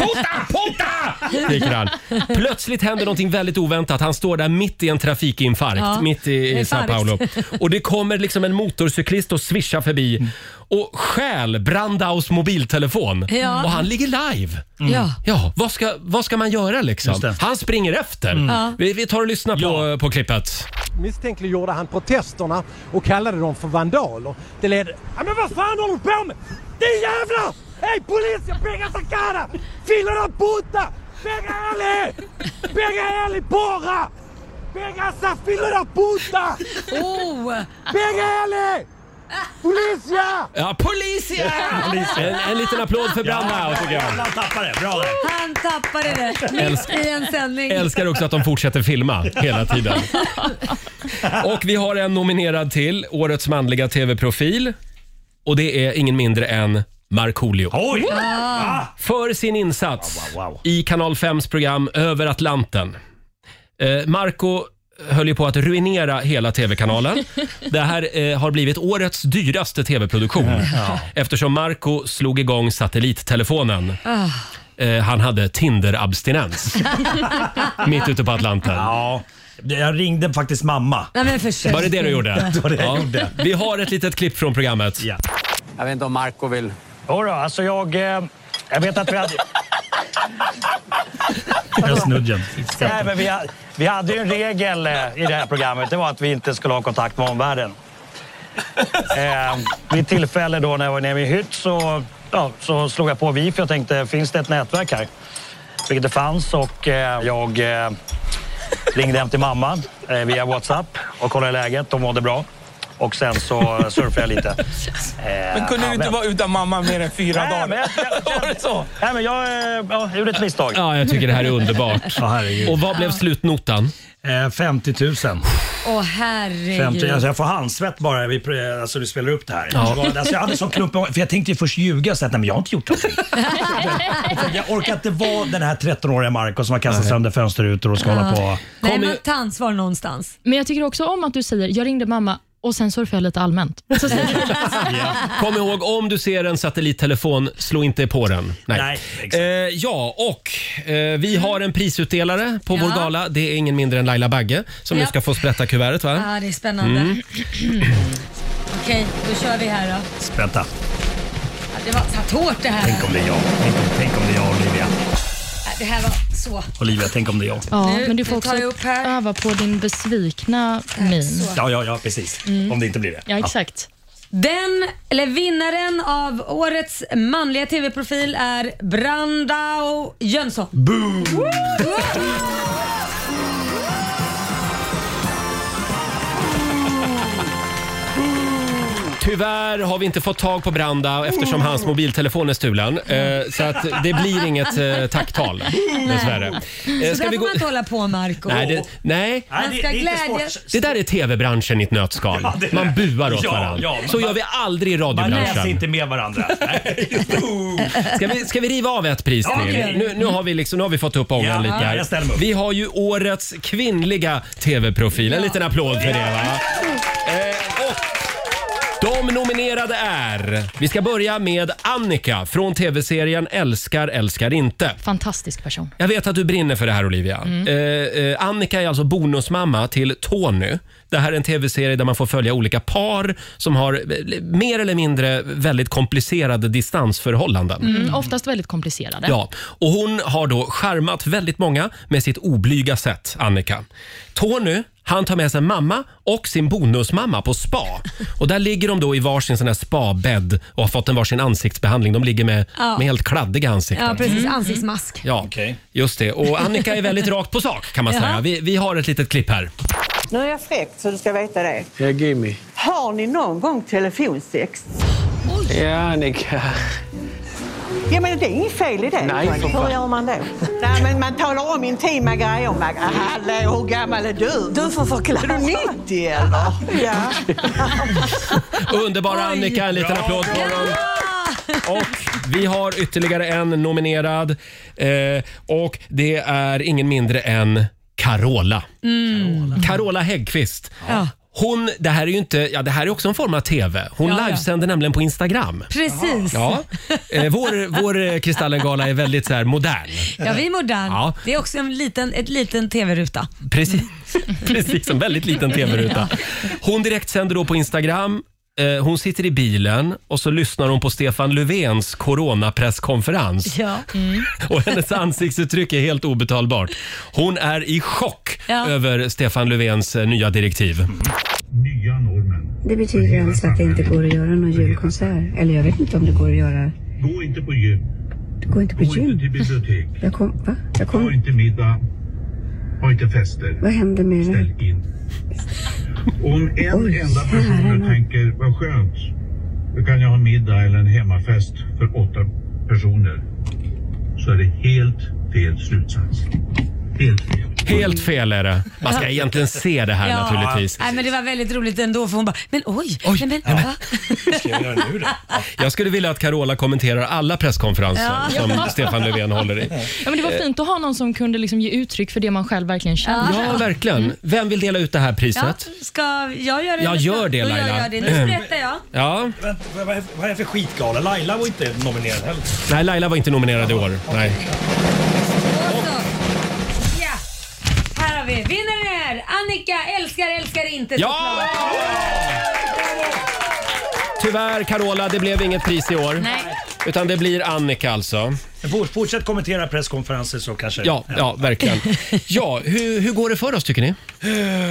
skriker han. <laughs> Plötsligt händer någonting väldigt oväntat. Han står där mitt i en trafikinfarkt,
Ja,
mitt
det
i,
är
i Sao
farligt. Mm.
Paulo. Och det kommer liksom en motorcyklist och svischar förbi och stjäl Brandaus mobiltelefon.
Ja.
Och han ligger live.
Mm. Ja.
Ja, vad ska, vad ska man göra
Just
liksom?
det.
Han springer efter.
Mm. Ja.
Vi, vi tar och lyssnar på, på klippet.
misstänkliggjorde han protesterna och kallade dem för vandaler. Det led... Ja, men vad fan håller du på med? Din jävla! Hej polis! Jag pegar essa cara! Filer da puta! Pega ele! Pega ele porra! Pega essa filho da puta! Oh! Pega ele! Polisia!
Ja, polisia!
Polisia.
En, en liten applåd för Brandau tycker jag.
Han tappade det. Bra där.
Han tappade det mitt
Älsk-
i en sändning.
Älskar också att de fortsätter filma hela tiden. Och vi har en nominerad till, årets manliga tv-profil. Och det är ingen mindre än Markoolio.
Oj!
Wow. Ah.
För sin insats i Kanal 5s program Över Atlanten. Eh, Marco höll ju på att ruinera
<laughs>
hela tv-kanalen. Det här eh, har blivit årets dyraste tv-produktion
Ja.
eftersom Marco slog igång satellittelefonen.
Ah.
Eh, han hade Tinder-abstinens.
<laughs>
Mitt ute på Atlanten.
Ja. Jag ringde faktiskt mamma.
Nej, men försök
Var det det du gjorde?
<laughs> Det var det jag
Ja.
gjorde.
Vi har ett litet klipp från programmet.
Jag vet inte om Marco vill... Jodå, alltså jag... Eh, jag vet att vi hade...
Jag snudgen.
Nej, men vi, ha- vi hade ju en regel eh, i det här programmet. Det var att vi inte skulle ha kontakt med omvärlden. Eh, vid tillfälle då när jag var nere i hytt så, ja, så slog jag på Wifi och tänkte, finns det ett nätverk här? Vilket det fanns och eh, jag eh, ringde hem till mamma eh, via WhatsApp och kollade läget. De mådde bra. Och sen så surfade jag lite. Eh,
Men kunde du inte
men-
vara utan mamma mer än fyra
Nej,
dagar?
men jag-
<laughs> Var det så?
Nej, men jag eh, ja, gjorde ett misstag.
Ja, jag tycker det här är underbart. Och vad blev slutnotan?
50 000.
Åh
50, Eh, alltså
herregud.
jag får handsvett bara vi, pr- alltså du spelar upp det här.
Ja.
Det var- Alltså jag hade sån klump i magen, för jag tänkte ju först ljuga och säga att "Nej, men jag har inte gjort någonting. Jag orkar inte vara den här 13-åriga Marco som har kastat sönder fönsterrutor och ska hålla på.
Nej, man tar ansvar någonstans.
Men jag tycker också om att du säger, jag ringde mamma och sen surfade jag lite allmänt. Så säger
<laughs>
du,
Kom ihåg, om du ser en satellittelefon, slå inte på den. Nej.
Nej,
eh, ja, och eh, vi har en prisutdelare på vår
Ja.
gala. Det är ingen mindre än Laila Bagge som nu
Ja.
ska få sprätta kuvertet. Va?
Ja, det är spännande.
Mm.
<clears throat> Okej, då kör vi här då.
Spänta.
Ja, Det var satt hårt det här.
Tänk om det är jag. Tänk om, tänk om det är jag Olivia.
Ja, Det här var så.
Olivia, tänk om det är jag.
ja,
Nu-
men du
nu
får
tar
också
jag
öva på din besvikna min.
Ja, ja, ja, precis.
Mm.
Om det inte blir det.
Ja, exakt.
Den, eller vinnaren av årets manliga tv-profil är Brandao Jönsson.
Boom!
Tyvärr har vi inte fått tag på Branda eftersom
Oh.
hans mobiltelefon är stulen. Eh, så att det
<laughs>
blir inget eh, tacktal dessvärre. Eh,
Så där får man inte hålla på Marco.
Nej, det, nej.
Man ska glädjas.
Det där är tv-branschen i ett nötskal.
Ja, det är
man
det.
buar åt
Ja,
varandra.
ja, men
Så
man-
gör vi aldrig i
Man läser
radiobranschen.
inte
<laughs>
med varandra.
Ska vi, ska vi riva av ett pris
Ja,
till?
okej.
Nu, nu, har vi liksom, nu har vi fått upp ångan
Ja,
lite här.
jag ställer mig upp.
Vi har ju årets kvinnliga tv-profil. En liten applåd för det va? Eh, De nominerade är... Vi ska börja med Annika från tv-serien Älskar älskar inte.
Fantastisk person.
Jag vet att du brinner för det här Olivia.
Mm.
Eh, eh, Annika är alltså bonusmamma till Tony. Det här är en tv-serie där man får följa olika par som har eh, mer eller mindre väldigt komplicerade distansförhållanden.
Mm, oftast väldigt komplicerade.
Ja, och hon har då charmat väldigt många med sitt oblyga sätt, Annika. Tony, Han tar med sig mamma och sin bonusmamma på spa. Och där ligger de då i varsin sån här spabädd och har fått en varsin ansiktsbehandling. De ligger med,
Ja.
med helt kladdiga ansikten.
Ja, precis. Ansiktsmask.
Mm. Ja, just det. Och Annika är väldigt rakt på sak kan man
Ja.
säga. Vi, vi har ett litet klipp här.
Nu är jag fräckt så du ska veta det.
Ja, gimme.
Har ni någon gång telefonsex?
Ja, Annika.
Ja, men det är inget fel i det.
Nej, för fan.
Hur gör man då? Nej, men man talar om intima grejer. Man, Hallå, hur gammal är du? Du får förklara. Är du 90 eller? Ja.
Underbara Annika, en liten applåd på honom. Och vi har ytterligare en nominerad. Eh, och det är ingen mindre än Carola.
Mm.
Carola Häggkvist. Hon, det här är ju inte, ja det här är också en form av TV. Hon
Ja, ja.
livesänder nämligen på Instagram.
Precis.
Ja. <laughs> Eh, vår, vår eh, Kristallengala är väldigt så här modern.
Ja, vi är moderna.
Ja.
Det är också en liten, ett liten TV-ruta. <laughs>
Precis, precis en väldigt liten tv-ruta. Hon direkt sänder då på Instagram. Eh, Hon sitter i bilen och så lyssnar hon på Stefan Löfvens coronapresskonferens.
Ja. Mm.
<laughs> Och hennes ansiktsuttryck är helt obetalbart. Hon är i chock
Ja.
över Stefan Löfvens eh, nya direktiv.
Det betyder alltså att det inte går att göra någon julkonsert. Eller jag vet inte om det går att göra.
Gå inte på gym.
Det går inte på
Gå inte
gym.
till bibliotek.
Jag kom, va? Jag
Ha
kom,
inte middag. Ha inte fester.
vad händer med det?
Ställ in. Om en
Oj,
enda person
herrarna.
nu tänker, vad skönt. Då kan jag ha middag eller en hemmafest för åtta personer. Så är det helt fel slutsats. Helt fel.
Helt fel är det. Man ska
Ja.
egentligen se det här
Ja.
naturligtvis.
Nej, men det var väldigt roligt ändå för hon bara, men oj, nej, men,
<laughs>
va?
Jag skulle vilja att Carola kommenterar alla presskonferenser
Ja.
som
Ja.
Stefan Löfven håller i.
Ja, men det var
Eh,
fint att ha någon som kunde liksom ge uttryck för det man själv verkligen känner.
Ja, verkligen. Vem vill dela ut det här
Ja,
priset?
ska jag göra det?
Jag gör det,
Då
Laila. Mm.
Jag gör det. Nu berättar jag.
Ja.
Vänta, vad, vad vad är det för skitgala? Laila var inte nominerad heller.
Nej, Laila var inte nominerad i år. Nej.
Ja, här har vi vinnaren är Annika älskar älskar inte
Ja!
såklart.
Tyvärr Carola, det blev inget pris i år.
Nej.
Utan det blir Annika alltså.
Men fort- Fortsätt kommentera presskonferenser så kanske...
Ja, ja verkligen. Ja, hur, hur går det för oss tycker ni?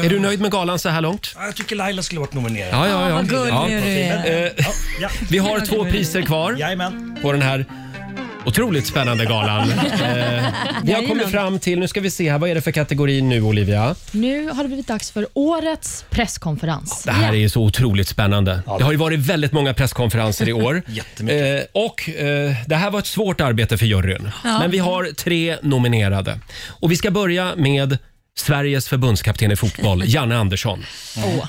Är du nöjd med galan så här långt?
Jag tycker Laila skulle varit nominerad.
Ja, ja, ja. Ja. Eh, Vi har
Vad
två
gullig.
priser kvar på den här otroligt
<laughs>
spännande galan. Eh, Vi har kommit fram till, nu ska vi se här, vad är det för kategori nu Olivia?
Nu har det blivit dags för årets presskonferens.
Det här är ju så otroligt spännande. Det har ju varit väldigt många presskonferenser i år. Eh, och eh, det här var ett svårt arbete för juryn.
Ja.
Men vi har tre nominerade. Och vi ska börja med Sveriges förbundskapten i fotboll, Janne Andersson.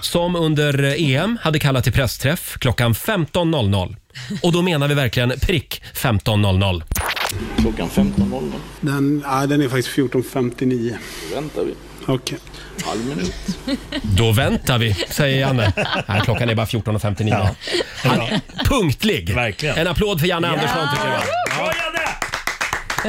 Som under eh, EM hade kallat till pressträff klockan 15.00. Och då menar vi verkligen prick 15.00.
Klockan 15.00.
Den, nej, den är faktiskt 14.59.
Då väntar vi.
Okej.
Halv minut.
Då väntar vi, säger Janne. Nej, klockan är bara 14.59. Han är punktlig! En applåd för Janne Andersson tycker jag.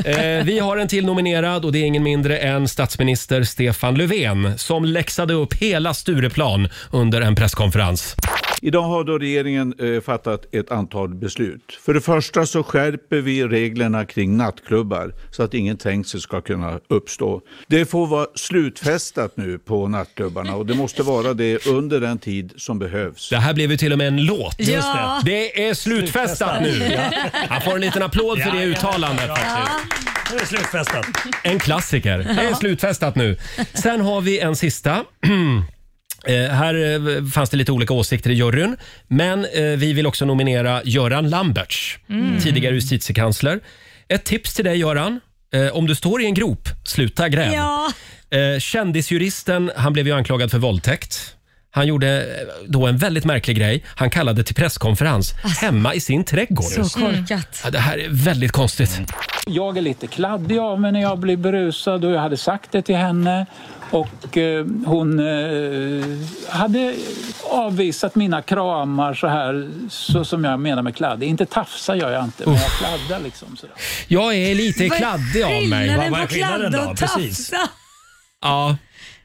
Eh, vi har en till nominerad och det är ingen mindre än statsminister Stefan Löfven som läxade upp hela Stureplan under en presskonferens.
Idag har då regeringen eh, fattat ett antal beslut. För det första så skärper vi reglerna kring nattklubbar så att ingen trängsel ska kunna uppstå. Det får vara slutfestat nu på nattklubbarna och det måste vara det under den tid som behövs.
Det här blev ju till och med en låt.
Just det.
Det är slutfestat nu. Han får en liten applåd för det uttalandet faktiskt.
Nu är det slutfestat.
En klassiker. Det är
Ja.
slutfestat nu. Sen har vi en sista. <clears throat> Eh, här eh, fanns det lite olika åsikter i juryn. Men eh, vi vill också nominera Göran Lamberts,
Mm.
tidigare justitiekansler. Ett tips till dig Göran. Eh, om du står i en grop, sluta gräv.
Ja.
Eh, kändisjuristen, han blev ju anklagad för våldtäkt. Han gjorde eh, då en väldigt märklig grej. Han kallade till presskonferens hemma i sin trädgård.
Så korkat.
Ja, det här är väldigt konstigt.
Jag är lite kladdig av mig när jag blir berusad och jag hade sagt det till henne. Och eh, hon eh, hade avvisat mina kramar så här, så som jag menar med kladdig. Inte tafsa gör jag inte, men jag
Uff.
kladdar liksom. Sådär.
Jag är lite
Vad är
kladdig av mig.
skillnaden Vad- vad är på skillnaden kladda och då?
Ja,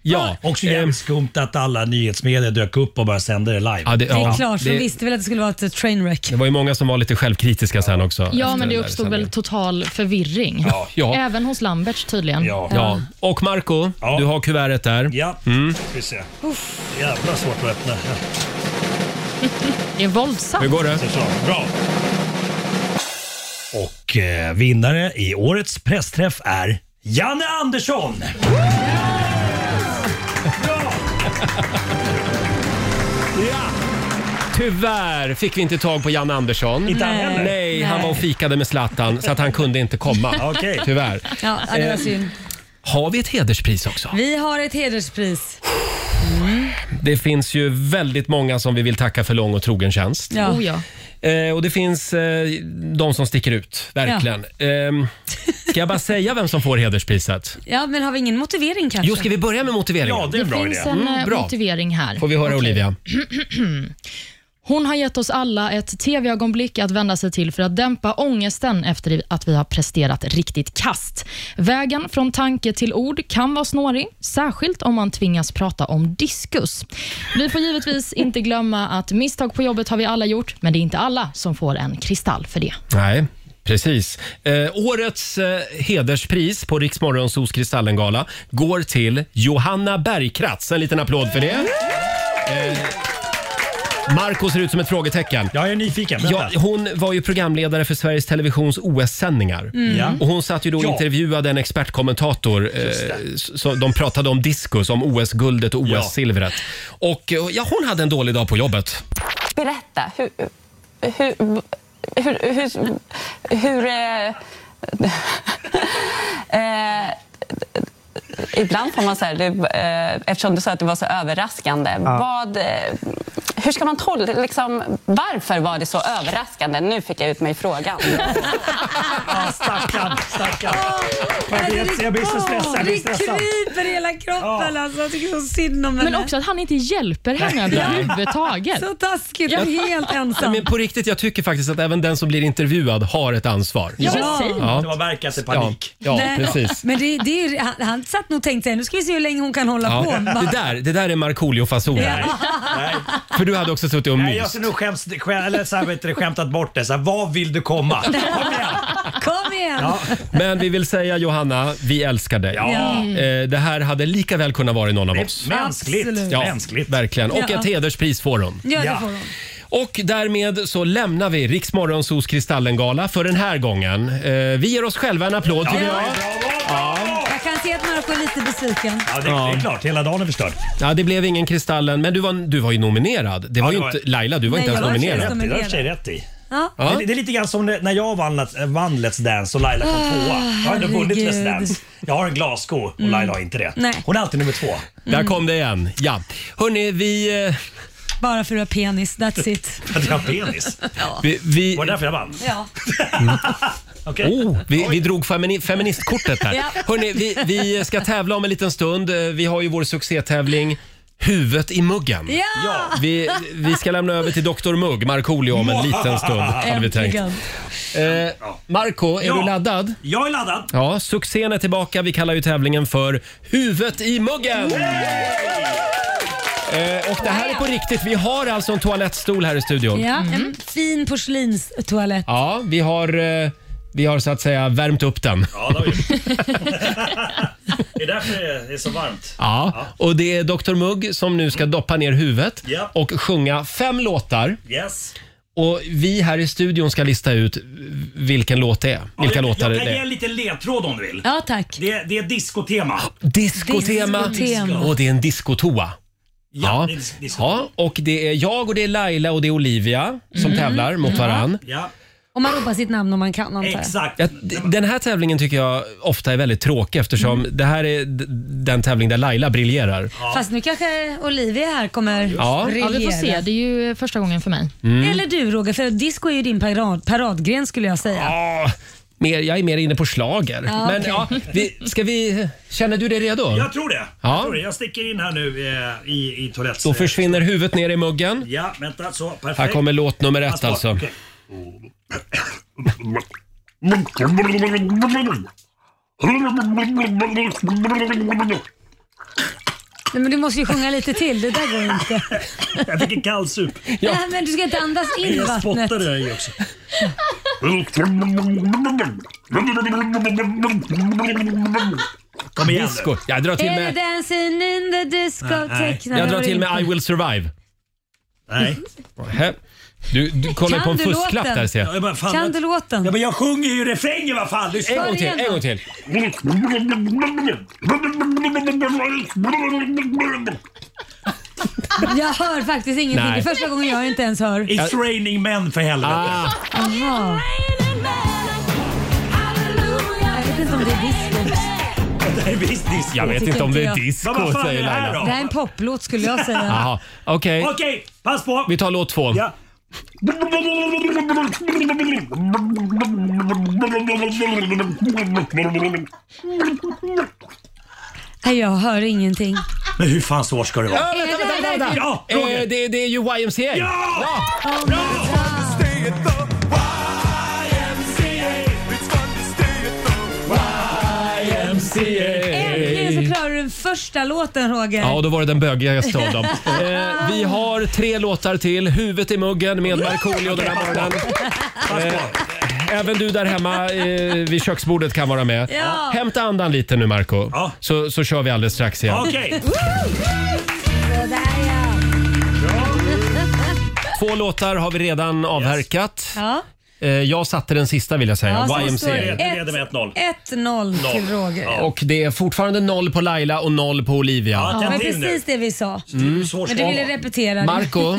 Ja.
Också jävligt skumt att alla nyhetsmedier dök upp och började sända det live.
Ja, det-
Det är
ja.
klart, för
Det-
vi visste väl att det skulle vara ett trainwreck.
Det var ju många som var lite självkritiska sen också.
Ja,
efter
men det
den där
uppstod
sändningen.
väl total förvirring.
Ja, ja.
Även hos Lamberts tydligen.
Ja. Och Marco, du har kuvertet där.
Ja.
Mm.
Ska vi se. Jävla svårt att öppna.
Det är våldsamt.
Hur går det?
Bra. Och eh, vinnare i årets pressträff är Janne Andersson!
Tyvärr fick vi inte tag på Janne Andersson.
Inte han heller?
Nej, han
Nej.
var och fikade med Zlatan så att han kunde inte komma.
<laughs> Okej.
Tyvärr.
Ja, ja, det var
Eh,
synd.
Har vi ett hederspris också?
Vi har ett hederspris.
Det finns ju väldigt många som vi vill tacka för lång och trogen tjänst.
Ja. Oh, ja.
Eh, och det finns eh, de som sticker ut, verkligen. Ehm, ska jag bara säga vem som får hederspriset?
Ja, men har vi ingen motivering kanske?
Jo, ska vi börja med motiveringen? Ja,
Det finns en eh,
Mm, bra.
motivering här.
Får vi höra
Okej.
Olivia?
Hon har gett oss alla ett tv-ögonblick att vända sig till för att dämpa ångesten efter att vi har presterat riktigt kast. Vägen från tanke till ord kan vara snårig, särskilt om man tvingas prata om diskus. Vi får givetvis inte glömma att misstag på jobbet har vi alla gjort, men det är inte alla som får en kristall för det.
Nej, precis. Eh, årets eh, hederspris på Riksmorgonsos Kristallengala går till Johanna Bergkratz. En liten applåd för det. Eh, Marco ser ut som ett frågetecken.
Jag är nyfiken.
Ja,
Vänta.
hon var ju programledare för Sveriges Televisions OS-sändningar.
Mm. Ja.
Och Hon satt ju då och
Ja.
intervjuade en expertkommentator. Eh, så de pratade om diskus, om OS-guldet och
Ja.
OS-silvret. Och eh, ja, hon hade en dålig dag på jobbet.
Berätta, hur... Hur... Hur... hur, hur eh, <laughs> eh, ibland får man så här, det, eh, eftersom du sa att det var så överraskande,
Ja.
vad, eh, hur ska man tolka, liksom, varför var det så överraskande? Nu fick jag ut mig i frågan.
Ja, stackarn, stackarn. Jag, vet, jag blir så stressad. Jag blir stressad.
kryper i hela kroppen alltså. Jag tycker så synd om
Men
henne.
också att han inte hjälper henne
Nej.
<laughs>
överhuvudtaget.
Så taskigt, och helt ensam.
Men på riktigt, jag tycker faktiskt att även den som blir intervjuad har ett ansvar.
Ja, precis.
Det var verkat i panik.
Ja, ja
Nej,
precis.
Men det, det är, han, han satt nog och tänkte nu ska vi se hur länge hon kan hålla
Ja.
på.
Det, där, det där är Markoolio-fasoner. För du hade också suttit och
Nej, jag
myst.
skulle nog skäms, skä- eller så här, vet du, skämtat bort det. Så här, vad vill du komma?
Kom igen!
Men vi vill säga Johanna, vi älskar dig.
Ja.
Eh, Det här hade lika väl kunnat vara någon av oss.
Mänskligt.
Ja,
Mänskligt.
verkligen. Och
Ja.
ett hederspris får hon.
Ja, det Ja. får hon.
Och därmed så lämnar vi Riksmorgonsos Kristallengala för den här gången. Eh, Vi ger oss själva en applåd tycker jag.
Jag kan se att Marco är lite besviken.
Ja, det, det är klart. Hela dagen är förstörd.
Ja, det blev ingen Kristallen, men du var, du var ju nominerad. Det var
Ja,
ju
det var-
inte, Laila, du var
Nej,
inte ens
jag var inte
nominerad.
ens nominerad. Det har du i och för sig rätt i.
Ja.
Ja.
Det, det är lite grann som det- när jag vann, Let's- vann Let's Dance och Laila kom
Ah,
tvåa. Jag har ändå vunnit
herregud.
Let's Dance. Jag har en glassko och
Mm.
Laila har inte det.
Nej.
Hon är alltid nummer två.
Mm.
Där kom det igen. Ja. Hörni, vi... eh,
Bara för att du har penis, that's
<laughs>
it.
För att jag har penis?
Ja.
Vi, vi...
Var det därför jag vann?
Ja.
Okej.
Oh, vi, vi drog femini-
<laughs>
feministkortet här.
Ja.
Hörni, vi, vi ska tävla om en liten stund. Eh, Vi har ju vår succétävling Huvudet i muggen.
Ja!
Vi, vi ska lämna över till Dr Mugg, Markoolio, om en liten stund. Hade vi tänkt.
Äntligen.
Eh, Marco, är
Ja.
du laddad?
Jag är laddad.
Ja, succén är tillbaka. Vi kallar ju tävlingen för Huvudet i muggen. Eh, och det här är på riktigt. Vi har alltså en toalettstol här i studion.
Ja, en fin porslinstoalett.
Mm. Ja, vi har, eh, vi har så att säga värmt upp den.
Ja, det har vi
<laughs>
Det är därför det är så varmt.
Ja, och det är Dr Mugg som nu ska doppa ner huvudet
Ja.
och sjunga fem låtar.
Yes.
Och vi här i studion ska lista ut vilken låt det är. Vilka
jag,
låtar
jag kan
det
ge en
är.
liten ledtråd om du vill.
Ja, tack.
Det, det är diskotema.
Diskotema.
Diskotema.
Och det är en diskotoa.
Ja, det är dis- diskotoa.
ja, och det är jag och det är Laila och det är Olivia som
Mm.
tävlar mot
Ja.
varann.
Ja.
Om man ropar sitt namn om man kan antar jag.
Ja, d- den här tävlingen tycker jag ofta är väldigt tråkig eftersom
Mm.
det här är d- den tävling där Laila briljerar.
Fast nu kanske Olivia här kommer
Ja.
Ja, vi får se. Det är ju första gången för mig.
Mm.
Eller du Roger, för disco är ju din parad, paradgren skulle jag säga.
Ja, mer, jag är mer inne på slager.
Ja,
Men
okej.
ja, vi, ska vi, känner du dig redo?
Jag tror det.
Ja.
Jag, tror det. jag sticker in här nu eh, i, i toaletten.
Då försvinner huvudet ner i muggen.
Ja, vänta. Så, perfekt.
Här kommer låt nummer ett alltså.
Okej.
Nej, men du måste ju sjunga lite till, det där går inte.
<laughs>
Jag fick en kallsup.
Nej, men du ska inte andas in
Jag
vattnet.
spottade jag i också.
Kom igen Disco. Jag drar till
Är
med...
dancing in the disco? Tecknade
Jag drar
var
till
inte.
med I will survive.
Nej.
Du, du kollar
Kan
på en
du låten?
fusklapp där ser jag.
Ja, jag bara, fan, Kan vad- du låten?
Ja, men jag sjunger ju refrängen vad fan. Lyssna.
En gång till, en gång till.
Jag hör faktiskt ingenting.
Nej.
Det är första gången jag inte ens hör.
It's raining men för helvete.
Ah.
Jaha. Jag vet inte om det är disco.
<laughs> Det här är visst disco.
Jag vet inte om det är disco,
Men vad fan är
säger
det här
Laila.
Det här är en poplåt skulle jag säga.
Jaha, okej.
Okej, pass på.
Vi tar låt två.
Ja.
Nej, jag hör ingenting.
Men hur fan svårt ska det vara?
Ja, Ah, vänta, vänta, vänta.
Ja,
Eh, det, det är ju YMCA. Ja!
Äntligen så klarar du den första låten Roger.
Ja, då var det den bögigaste av dem. Eh, vi har tre låtar till. Huvudet i muggen med Markoolio den här morgonen. Eh, Även du där hemma eh, vid köksbordet kan vara med.
Ja.
Hämta andan lite nu Marco så, så kör vi alldeles strax igen. Två låtar har vi redan avverkat.
Ja.
Eh, jag satte den sista vill jag säga.
så står
YMCA.
det. Ett- 1-0 till Roger. Ja.
Och det är fortfarande noll på Laila och noll på Olivia.
det var precis det vi sa.
Mm.
Men du ville repetera. det.
Marco,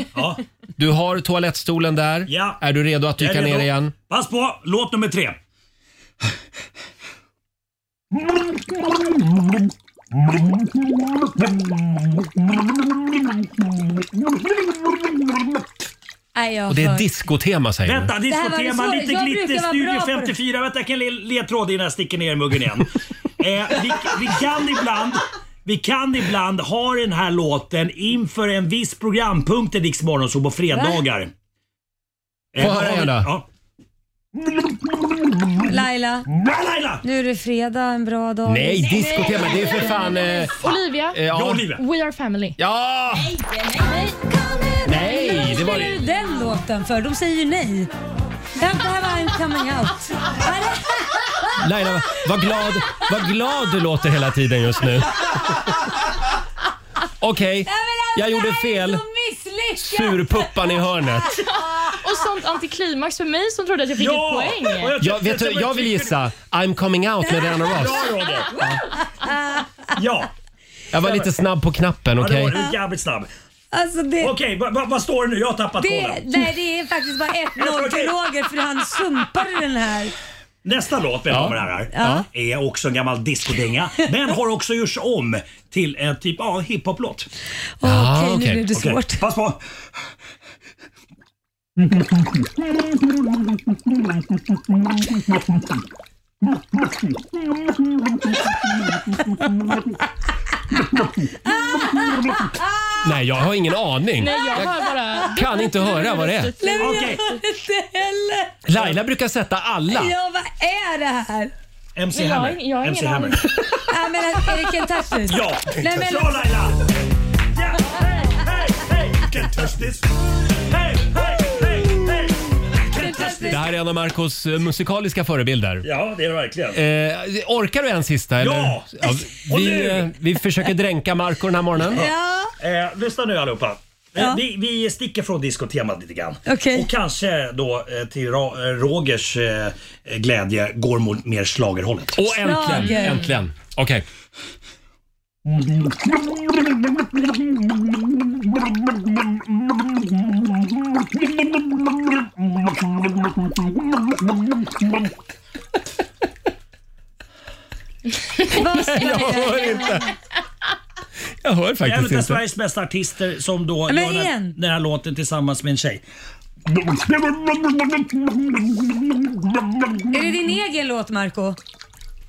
du har toalettstolen där.
Ja.
Är du redo att
Jag är
dyka ner
redo.
igen?
Pass på, låt nummer tre.
Nej, jag
Och det är
hör.
discotema säger
Vänta,
du?
Det här var det
diskotema,
svåra.
lite
Jag brukar
glitter,
vara
Studio
bra på det.
54. Vänta, jag kan le- ledtråd innan jag sticker ner
<laughs>
muggen igen. eh, vi, vi kan ibland vi kan ibland ha den här låten inför en viss programpunkt i Rix Morgonzoo på fredagar. Eh,
Få höra igen då.
Ja.
Laila. Nu är det fredag, en bra dag.
Nej, discotema. Det är för fan... Eh,
Olivia.
Eh, ja. Ja, Olivia.
We are family.
Ja! nej, det var
Vad
det.
spelar du den låten för? De säger ju nej. Det här- det här var en coming out.
Laila, vad glad, vad glad du låter hela tiden just nu. Okej, <laughs> jag gjorde
alltså,
fel. Surpuppan i hörnet.
Och sånt antiklimax för mig som trodde att jag fick
Ja!
ett poäng.
Och jag
Jag, vet du, jag vill gissa I'm coming out med Diana Ross.
Bra typ-
<laughs>
Roger! Ja.
Jag var lite snabb på knappen,
Ja, det
okej?
var du. jävligt snabb.
Alltså det...
Okej, vad vad- vad står det nu? Jag har tappat
Det,
tråden.
nej, det är faktiskt bara 1-0 till Roger för han sumpade den här.
Nästa låt vi
Ja.
kommer här,
Ja.
är också en gammal discodänga men har också gjorts om till en typ av hiphop-låt. Typ.
Ah, okej, nu okej. blev det svårt.
Pass på!
Nej, jag har ingen aning.
Nej, jag hör bara-
kan inte höra vad det är.
Nej, men jag hör inte heller.
Laila brukar sätta alla.
Ja, vad är det här?
MC
Men jag har
Hammer.
ing- jag har
MC
ingen
Hammer.
Ja, men äh, är det Kentucky?
Ja.
Nej, men...
Bra Laila! Ja, hey, hey, hey, you can touch this. Hey, hey, hey, hey, you can touch this.
Det här är en av Marcos eh, musikaliska förebilder.
Ja, det är det verkligen.
Eh, orkar du en sista? Eller?
Ja! Och
vi,
nu?
eh, vi försöker dränka Marco den här morgonen.
Eh, lyssna nu allihopa. Eh,
Ja.
Vi, vi sticker från diskotemat lite grann.
Okej.
Och kanske då eh, till Ra- eh, Rogers eh, glädje går mot mer schlagerhållet.
Och äntligen,
Slager.
äntligen. Okej.
Vad
Nej, jag
ska
hör
jag
inte.
Jag hör faktiskt
en av
inte.
Sveriges bästa artister som då
Men
gör den,
igen.
den här låten tillsammans med en tjej.
Är det din egen låt, Marco?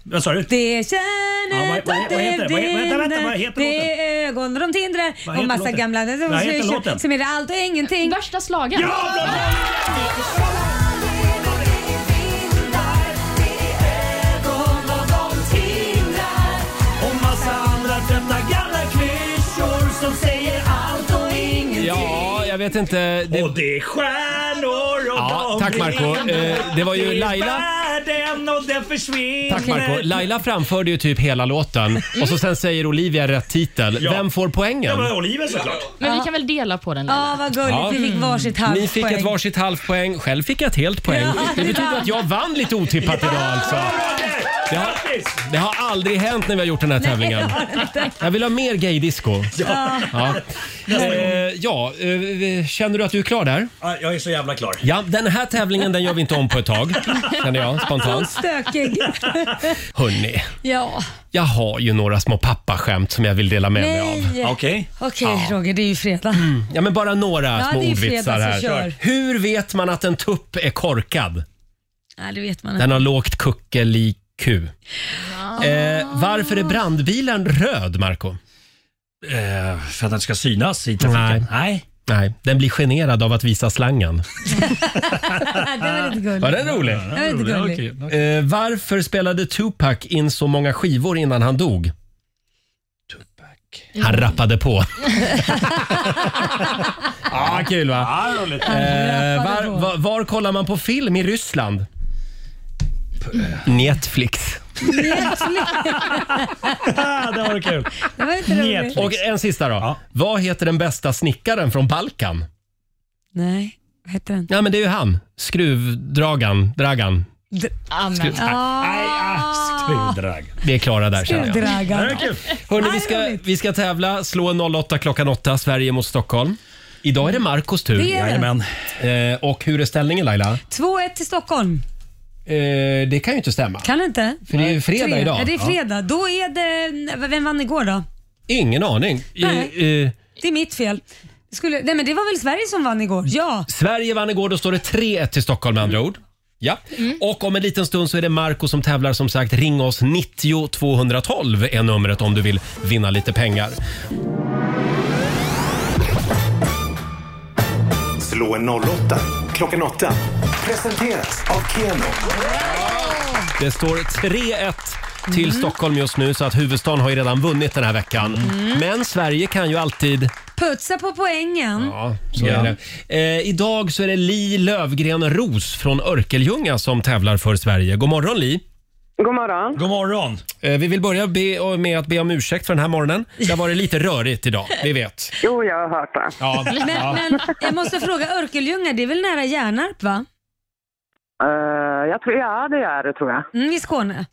Vad sa du?
Det känner
Ja, vad- vad- vad heter- vad he- vänta, vänta, vad heter låten?
Det är ögon de tindrar
Vad
och
heter
massa
låten?
gamla...
Vad heter låten?
Som är det allt och ingenting.
Värsta slagen.
Ja, bra,
Ögon vad de tindrar
Och massa andra trötta gamla klyschor
jag vet inte. Det...
Och det är stjärnor och
Ja,
de
tack, Marco.
brinner.
Eh, det var ju
är
Laila-
världen och den försvinner.
Tack Marco. Laila framförde ju typ hela låten och så sen säger Olivia rätt titel. Vem får poängen?
Ja, men Oliver såklart.
Men vi kan väl dela på den
Ja, vad gulligt.
Ja.
Vi fick varsitt halvt
Ni fick
poäng.
ett varsitt halvt poäng. Själv fick jag ett helt poäng.
Ja,
det
det
betyder
var-
att jag vann lite otippat idag alltså. Det har, det har aldrig hänt när vi har gjort den
<laughs>
här tävlingen. Jag vill ha mer gaydisco.
Ja.
Ja. Eh, ja, eh, känner du att du är klar där?
Ja, Jag är så jävla klar.
Ja, den här tävlingen den gör vi inte om på ett tag, känner jag spontant.
Stökig.
Hörni,
ja.
jag har ju några små pappaskämt som jag vill dela med mig
Nej.
av.
Okej Roger, det är ju fredag.
Mm.
Ja, men bara några
Ja,
små
det är
ordvitsar
fredag, så
här.
kör.
Hur vet man att en tupp är korkad?
Nej, det vet man
Den
inte.
har lågt kuckeliq. Eh, varför är brandbilen röd, Marco?
Eh, för att den ska synas i
Nej.
trafiken. Nej.
Nej, den blir generad av att visa slangen.
den var lite gullig.
Var den rolig?
Den var lite gullig.
Eh, varför spelade Tupac in så många skivor innan han dog? Tupac. Han rappade på. ah, kul va?
Ja, roligt. <laughs>
Eh, var, var, var kollar man på film i Ryssland? Netflix.
det var kul.
Det var inte roligt.
Och
eh,
en sista då. Vad heter den bästa snickaren från Balkan?
Nej, vad heter den?
Ja, men det är ju han. Skruvdragan. Dragan.
D-
Skruv-
Ah!
Ah. Skruvdrag.
Vi är klara där känner jag. Hörrni, vi,
Nej,
ska, vi ska tävla. Slå 08 klockan 8, Sverige mot Stockholm. Idag är det Marcos tur.
Det är det. Jajamän.
Eh, och hur är ställningen Laila?
2-1 till Stockholm.
Eh, det kan ju inte stämma.
Kan det inte?
För det är ju fredag
Tre.
idag.
Ja, det är fredag. Då är det... Vem vann igår då?
Ingen aning. Eh,
Nej.
eh,
Det är mitt fel. Skulle... Nej, men det var väl Sverige som vann igår? Ja.
Sverige vann igår, då står det 3-1 till Stockholm med
Mm.
andra ord. Ja. Och om en liten stund så är det Marco som tävlar som sagt. Ring oss 90 212 är numret om du vill vinna lite pengar.
Slå en 08 klockan 8. Presenteras av Keno.
Det står 3-1 till
Mm.
Stockholm just nu så att huvudstaden har ju redan vunnit den här veckan.
Mm.
Men Sverige kan ju alltid...
Putsa på poängen.
Ja, så är det. Eh, idag så är det Li Lövgren Ros från Örkelljunga som tävlar för Sverige. God morgon Li!
God morgon.
God morgon.
Eh, vi vill börja be, med att be om ursäkt för den här morgonen. Det har varit lite rörigt idag, vi vet.
Jo, jag har hört det.
Ja,
Men,
ja.
men jag måste fråga, Örkelljunga, det är väl nära Hjärnarp va?
Eh, jag tror, ja, det är det tror jag.
Mm, I Skåne?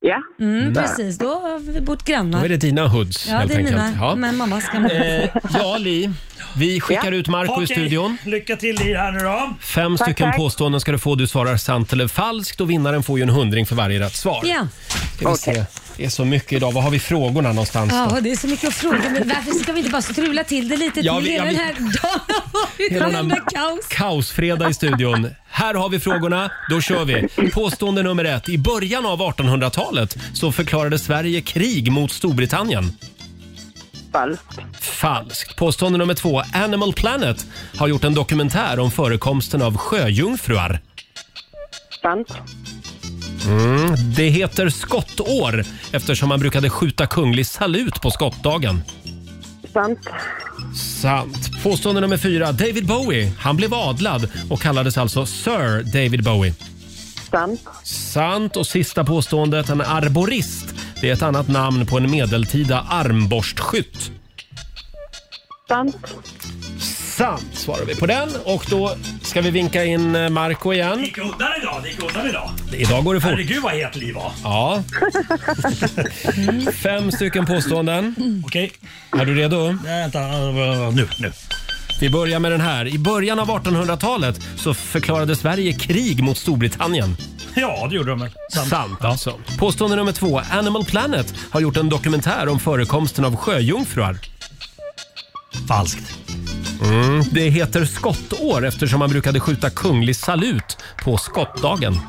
Ja.
Mm,
Där.
precis, då har vi bott grannar.
Då är det dina hoods
Ja,
helt
det är
enkelt.
mina. Men mammas gamla.
Eh, ja, Li. Vi skickar
Ja.
ut Marco i
Okej.
studion.
Lycka till i det här nu då.
Fem
Tack,
stycken
tack.
påståenden ska du få. Du svarar sant eller falskt och vinnaren får ju en hundring för varje rätt svar.
Ja.
Ska vi se. Det är så mycket idag. Var har vi frågorna någonstans? då?
Ja, det är så mycket att fråga. Men varför ska vi inte bara strula till det lite?
Ja,
till
vi- ja,
hela
vi-
den här dagen <laughs> har varit
Hela
ett
den
enda
här
kaos.
kaosfredag i studion. Här har vi frågorna, då kör vi. Påstående nummer ett. I början av 1800-talet så förklarade Sverige krig mot Storbritannien. Falskt. Falskt. Påstående nummer två. Animal Planet har gjort en dokumentär om förekomsten av sjöjungfrur.
Sant.
Mm. Det heter skottår eftersom man brukade skjuta kunglig salut på skottdagen.
Sant.
Sant. Påstående nummer fyra. David Bowie. Han blev adlad och kallades alltså Sir David Bowie.
Sant.
Sant. Och sista påståendet. En arborist. Det är ett annat namn på en medeltida armborstskytt.
Sant.
Sant svarar vi på den. Och då ska vi vinka in eh, Marco igen.
gick undan idag. Det gick undan idag.
Idag går det fort.
Herregud vad het Li var.
Ja. Fem stycken påståenden.
Mm.
Okej. Är du redo?
Nej, Eh, vänta. Eh, Nu, nu.
Vi börjar med den här. I början av 1800-talet så förklarade Sverige krig mot Storbritannien.
Ja, det gjorde de väl.
Sant. alltså. Påstående nummer två. Animal Planet har gjort en dokumentär om förekomsten av sjöjungfrur.
Falskt.
Mm. Det heter skottår eftersom man brukade skjuta kunglig salut på skottdagen.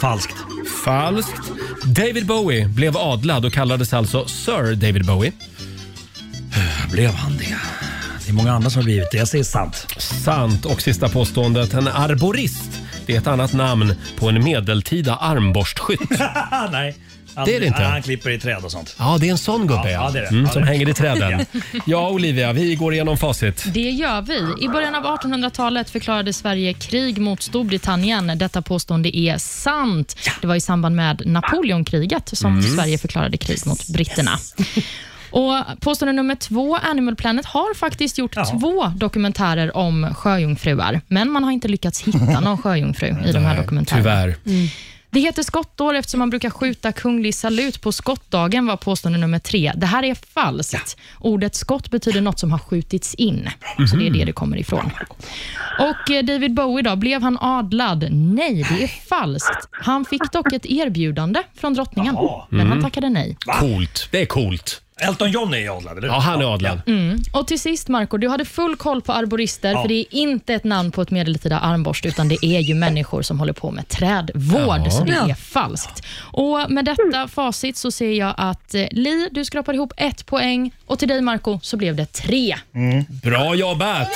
Falskt.
Falskt. David Bowie blev adlad och kallades alltså Sir David Bowie.
Blev han det? Det är många andra som har blivit det. Jag säger sant.
Sant. Och sista påståendet.
<laughs>
En arborist. Det är ett annat namn på en medeltida armborstskytt.
Ah, Nej.
Det är det inte?
Ja, Han klipper i träd och sånt.
Ja, det är en sån gubbe ja.
Ja, det är det.
Mm,
Ja,
som
det är
hänger i träden.
Ja.
Ja, Olivia, vi går igenom facit.
Det gör vi. I början av 1800-talet förklarade Sverige krig mot Storbritannien. Detta påstående är sant. Det var i samband med Napoleonkriget som
Mm.
Sverige förklarade krig mot britterna. <laughs> Och Påstående nummer två, Animal Planet har faktiskt gjort två dokumentärer om sjöjungfruar, men man har inte lyckats hitta någon sjöjungfru i de här
Nej,
dokumentärerna.
Tyvärr.
Det heter skottår eftersom man brukar skjuta kunglig salut på skottdagen, var påstående nummer tre. Det här är falskt. Ordet skott betyder något som har skjutits in, så det är det det kommer ifrån. Och eh, David Bowie då, blev han adlad? Nej, det är falskt. Han fick dock ett erbjudande från drottningen, men
Mm.
han tackade nej.
Coolt. Det är coolt.
Elton John är ju adlad, eller
Ja, han är adlad.
Mm. Och till sist Marco, du hade full koll på arborister,
Ja.
för det är inte ett namn på ett medeltida armborst, utan det är ju människor som håller på med trädvård,
Ja.
så det
Ja.
är falskt. Och med detta facit så ser jag att eh, Li, du skrapar ihop ett poäng och till dig Marco så blev det tre.
Bra jobbat!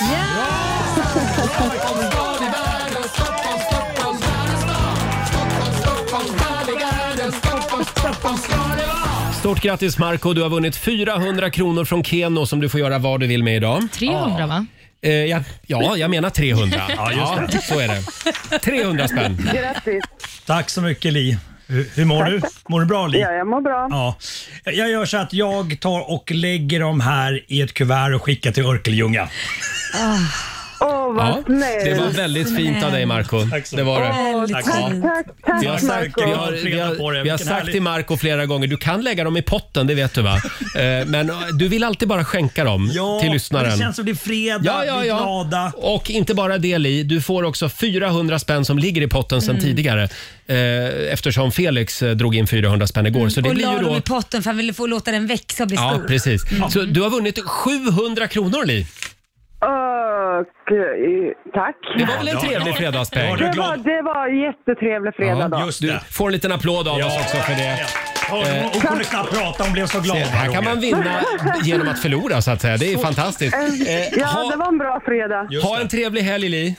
Stort grattis Marco, du har vunnit 400 kronor från Keno som du får göra vad du vill med idag.
300 va?
Eh, ja, ja, jag menar 300.
<laughs> Ja, just det.
så är det. 300 spänn.
Grattis. Tack så mycket Li. Hur, hur mår du? Mår du bra Li?
Ja, jag mår bra.
Ja. Jag gör så att jag tar och lägger dem här i ett kuvert och skickar till Örkelljunga.
Åh, vad
Ja,
snällt.
det var väldigt fint av dig Marco Det var
Åh,
det.
tack, tack, tack,
Vi har sagt,
Marco.
vi har, vi har, vi har sagt till Marco flera gånger, du kan lägga dem i potten, det vet du va? Eh, Men eh, du vill alltid bara skänka dem till lyssnaren.
Det känns som det är fredag,
Ja, ja,
vi är glada.
ja. Och inte bara det Li, du får också 400 spänn som ligger i potten sedan
Mm.
tidigare. Eh, eftersom Felix eh, drog in 400 spänn igår. Så
Mm.
det
och
blir
la
ju
dem
då...
i potten för han ville få låta den växa och bli
Ja,
stor.
precis.
Mm.
Så du har vunnit 700 kronor Li.
Och, eh, tack.
Det var väl en trevlig fredagspeng?
Det var, det var en jättetrevlig fredag då.
Du får en liten applåd av oss också för det.
Hon,
Eh,
hon kunde knappt prata, hon blev så glad.
Se, här kan man vinna genom att förlora så att säga. Det är fantastiskt.
Eh,
Eh,
Ja,
ha-
det var en bra fredag.
Ha en trevlig helg Li.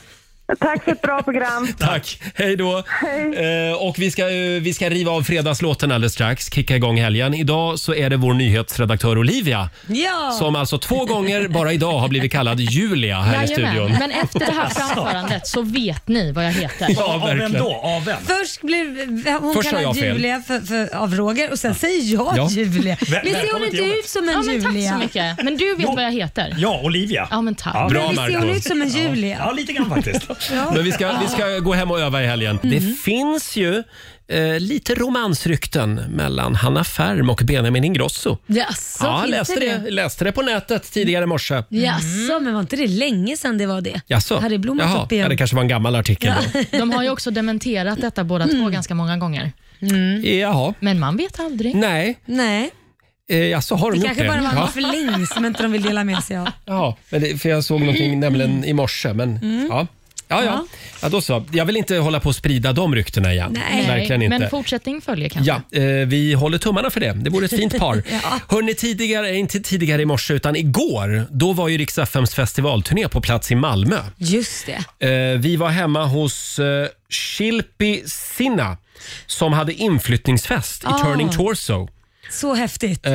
Tack för ett bra
<laughs>
program.
Tack. Hej då. Eh, och vi ska, ju- vi ska riva av fredagslåten alldeles strax. Kicka igång helgen. Idag så är det vår nyhetsredaktör Olivia.
Ja.
Som alltså två gånger bara idag har blivit kallad Julia här i
Jajamän,
studion.
Men efter det
Alltså.
här framförandet så vet ni vad jag heter.
Av vem?
Först blev hon
Först sa jag
kallad
fel.
Julia för, för, av Roger och sen säger jag
Ja.
Julia.
Väl-
Men ser hon
välkommen
inte
till jobbet.
ut som en
Ja, men
Julia?
tack så mycket. Men du vet vad jag heter.
Ja, Olivia.
Ja, men tack.
Bra
men ser hon
Marco.
ut som en Julia?
Ja, lite grann faktiskt.
Ja. Mm.
Men vi ska, vi ska gå hem och öva i helgen. Det finns ju eh, lite romansrykten mellan Hanna Färm och Benjamin Ingrosso.
Jaså,
ja,
finns det
läste det,
det?
läste det på nätet tidigare i morse.
Jaså, men var inte det länge sedan det var det?
Jaså?
Hade det blommat
Jaha,
upp igen?
ja, det kanske var en gammal artikel. då.
De har ju också dementerat detta båda två ganska många gånger.
Jaha.
Men man vet aldrig.
Nej.
Nej.
Eh, jaså, har
Det
de gjort
kanske
det?
bara var
ja.
en förlängning som inte de vill dela med sig av.
ja, men det, för jag såg
<clears throat>
någonting nämligen i morse. Men,
Mm.
ja. Ja, ja.
Ja.
ja, då så. Jag vill inte hålla på och sprida de ryktena igen. Verkligen inte.
Men fortsättning följer kanske.
Ja, eh, vi håller tummarna för det. Det vore ett fint
<laughs>
par.
Ja.
Hörrni, tidigare, inte tidigare i morse utan igår, då var ju Rix FMs festivalturné på plats i Malmö.
Just det.
Eh, vi var hemma hos eh, Shilpi Sinha som hade inflyttningsfest i
Ah.
Turning Torso.
Så häftigt.
Eh,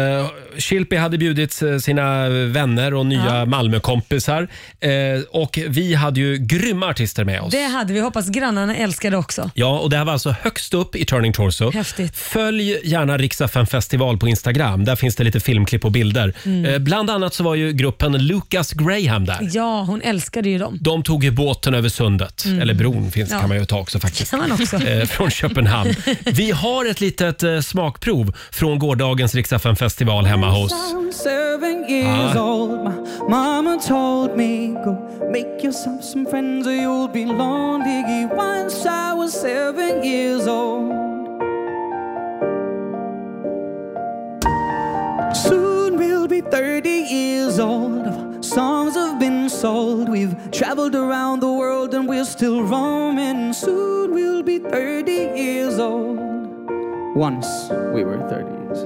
Shilpi hade bjudit eh, sina vänner och nya Malmökompisar. Eh, och vi hade ju grymma artister med oss.
Det hade vi. Hoppas grannarna älskade också.
Ja, och det här var alltså högst upp i Turning Torso.
Häftigt.
Följ gärna Riksaffen festival på Instagram. Där finns det lite filmklipp och bilder.
Mm.
Eh, bland annat så var ju gruppen Lucas Graham där.
Ja, hon älskade ju dem.
De tog ju båten över sundet,
Mm.
eller bron finns,
Ja.
kan man ju ta också faktiskt.
Kan man också.
Eh,
<laughs>
från Köpenhamn. Vi har ett litet eh, smakprov från gårdagens Riksaffen festival hemma hos Ah.
I'm seven years
years
old. My mama told me, go make yourself some friends or you'll be lonely. Once I was seven years old. Soon we'll be 30 years old. Songs have been sold. We've traveled around the world and we're still roaming. Soon we'll be 30 years old. <laughs> Once we were 30 years.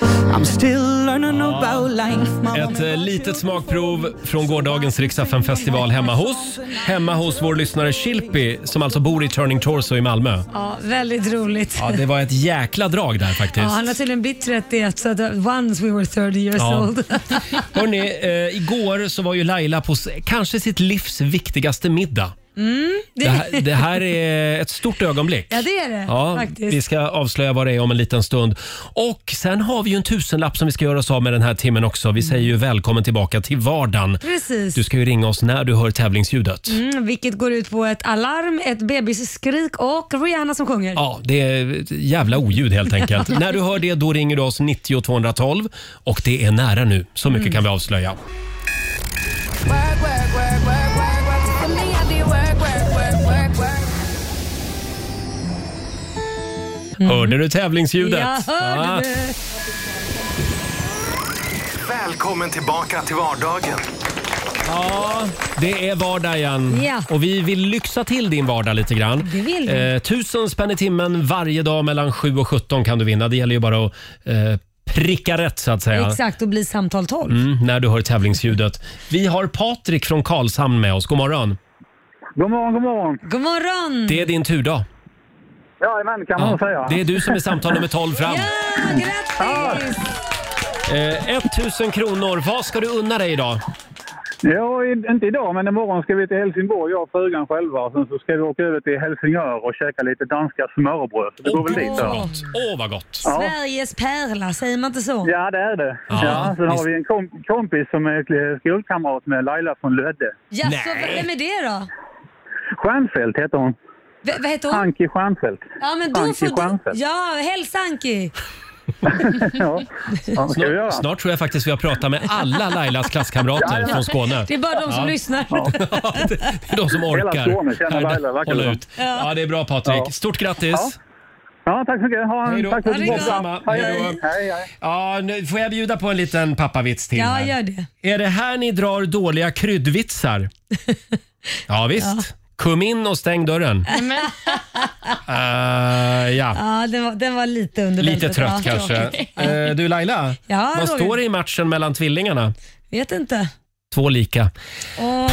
Jajamän.
Still learning about life. My
Ett eh, litet smakprov från gårdagens Riksaffen festival hemma hos. Hemma hos vår lyssnare Chilpi som alltså bor i Turning Torso i Malmö.
Ja, väldigt roligt.
Ja, det var ett jäkla drag där
Ja,
faktiskt.
han har tydligen blivit 31 så att uh, once we were 30 years
Ja.
old.
Hörrni, eh, igår så var ju Laila på s- kanske sitt livs viktigaste middag.
Mm, <laughs> det,
Det här, det här är ett stort ögonblick.
Ja, det är det faktiskt.
vi ska avslöja vad det är om en liten stund. Och sen har vi ju en tusenlapp som vi ska göra oss av med den här timmen också. Vi säger ju välkommen tillbaka till vardagen.
Precis.
Du ska ju ringa oss när du hör tävlingsljudet.
Mm, vilket går ut på ett alarm, ett bebisskrik och Rihanna som sjunger.
Ja, det är ett jävla oljud helt
<laughs>
enkelt. När du hör det då ringer du oss 90 212 och det är nära nu. Så mycket
Mm.
kan vi avslöja. Hörde du tävlingsljudet? Ah.
Jag Mm. hörde
Ja.
det. Välkommen tillbaka till vardagen.
Ja, det är vardag igen.
Ja.
Och vi vill lyxa till din vardag lite grann.
Det vill vi.
Eh, tusen spänn i timmen varje dag mellan 7 och 17 kan du vinna. Det gäller ju bara att eh, pricka rätt så att säga.
Exakt, och blir samtal 12.
Mm, när du hör tävlingsljudet. Vi har Patrik från Karlshamn med oss. God morgon.
God morgon, god morgon.
God morgon!
Mm.
Det är din turdag.
Jajamän, kan man
Ja,
säga.
Det är du som är samtal nummer 12 fram.
Grattis!
Eh, 1000 kronor. Vad ska du unna dig idag?
Ja, i- inte idag, men imorgon ska vi till Helsingborg, jag och frugan själva. Och Sen så ska vi åka över till Helsingör och käka lite danska smörbröd. Så det går väl dit då.
Åh, vad gott!
Sveriges pärla, säger man inte så?
Ja, det är det. Ja, sen har vi en kom- kompis som är skolkamrat med Laila från Lödde.
Jaså, vem är det då?
Stjernfeldt heter hon.
V vad heter hon?
Anki Stjernfeldt.
Ja, men då
Anki
får du...
Stjernfeldt.
Ja, hälsa Anki!
<laughs> ja. Ja, det ska vi göra.
Snart, snart tror jag faktiskt vi har pratat med alla Lailas klasskamrater från Skåne.
Det är bara de som lyssnar.
Det är de som orkar.
Hela Skåne känner Laila, verkar
Hålla
det
ut.
som.
Ja, det är bra Patrik.
Ja.
Stort grattis!
Ja, tack så mycket. Ha en,
Hej då.
tack för
Ha det
ett
gott.
bra program.
Hej då.
Hej, hej. hej.
Ja, nu får jag bjuda på en liten pappavits till
Ja,
här.
gör det.
Är det här ni drar
<laughs>
dåliga kryddvitsar? Ja, visst.
Ja.
Kom in och
<laughs>
stäng dörren. Eh, ja.
Ja, den var, den var lite under
Lite
bältet.
trött
Ja,
kanske.
tråkigt.
Eh, du Laila,
Ja,
vad
Roger.
står det i matchen mellan tvillingarna?
Vet inte.
Två lika.
Åh.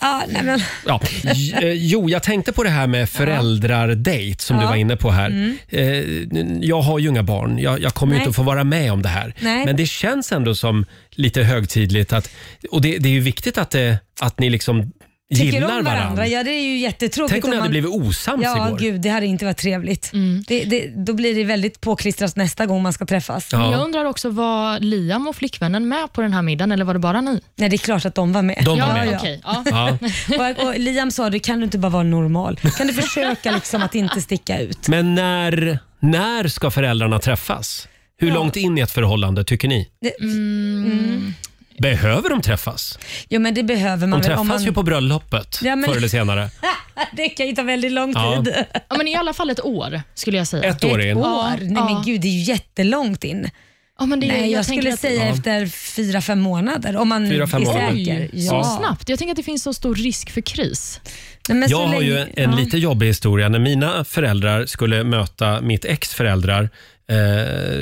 Ja, nej men.
Ja. J- eh, Jo, jag tänkte på det här med föräldrardejt som du
Ja.
var inne på här.
Mm.
Eh, n- Jag har ju inga barn. Jag, jag kommer ju
Nej.
inte att få vara med om det här.
Nej.
Men det känns ändå som lite högtidligt. Att, och det, det är ju viktigt att, det, att ni liksom
Tycker
gillar
om
varandra.
varandra. Ja, det är ju jättetråkigt.
Tänk om ni hade
man-
blivit osams
ja,
igår.
gud, det hade inte varit trevligt. Det, det, då blir det väldigt påklistrat nästa gång man ska träffas.
Men Jag undrar också, var Liam och flickvännen med på den här middagen eller var det bara ni?
Nej, det är klart att de var
<laughs>
med.
De var med. Okej, ja. Ja.
Och, och Liam sa, du kan du inte bara vara normal? Kan du försöka liksom att inte sticka ut?
Men när, när ska föräldrarna träffas? Hur långt in i ett förhållande tycker ni?
Det, mm.
Behöver de träffas?
Jo, men det behöver man
De
väl
träffas
om man...
ju på bröllopet
Ja, men- Alltså,
förr eller senare.
<laughs> det kan ju ta väldigt lång
Ja.
tid.
Ja, men I alla fall ett år skulle jag säga.
Ett år in.
år? Nej men
Ja.
gud, det är ju jättelångt in.
Ja, men det-
Nej, jag,
jag tänker
skulle
att-
säga
Ja.
efter fyra, fem månader. Om man
Fyra, fem
är
månader.
säker.
Oj, så
snabbt. Jag tänker att det finns så stor risk för kris.
Nej, men
jag
så
har ju
länge-
en
ja.
lite jobbig historia. När mina föräldrar skulle möta mitt ex föräldrar eh,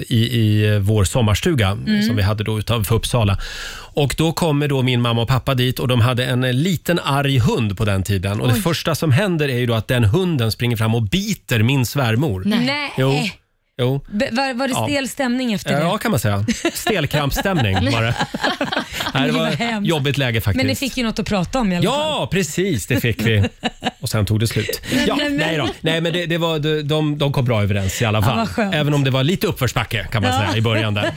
i, i vår sommarstuga
Mm.
som vi hade då utanför Uppsala. Och då kommer då min mamma och pappa dit och de hade en eh, liten arg hund på den tiden. Och det
Oj.
första som händer är ju då att den hunden springer fram och biter min svärmor.
Nej. Nej.
Jo. Jo.
Be- Var, var det
Ja.
stel stämning efter Eh. det?
Ja, kan man säga.
<laughs>
Stelkrampsstämning var det. Nej, det
Gud, vad
var ett
hemskt.
jobbigt läge faktiskt.
Men ni fick ju något att prata om i alla fall.
Ja, precis. Det fick vi. Och sen tog det slut. Ja,
Nej, men-
nej, då. nej, men det, det var, de- de, de kom bra överens i alla
Ja,
fall.
vad skönt.
Även om det var lite uppförsbacke kan man säga i början där.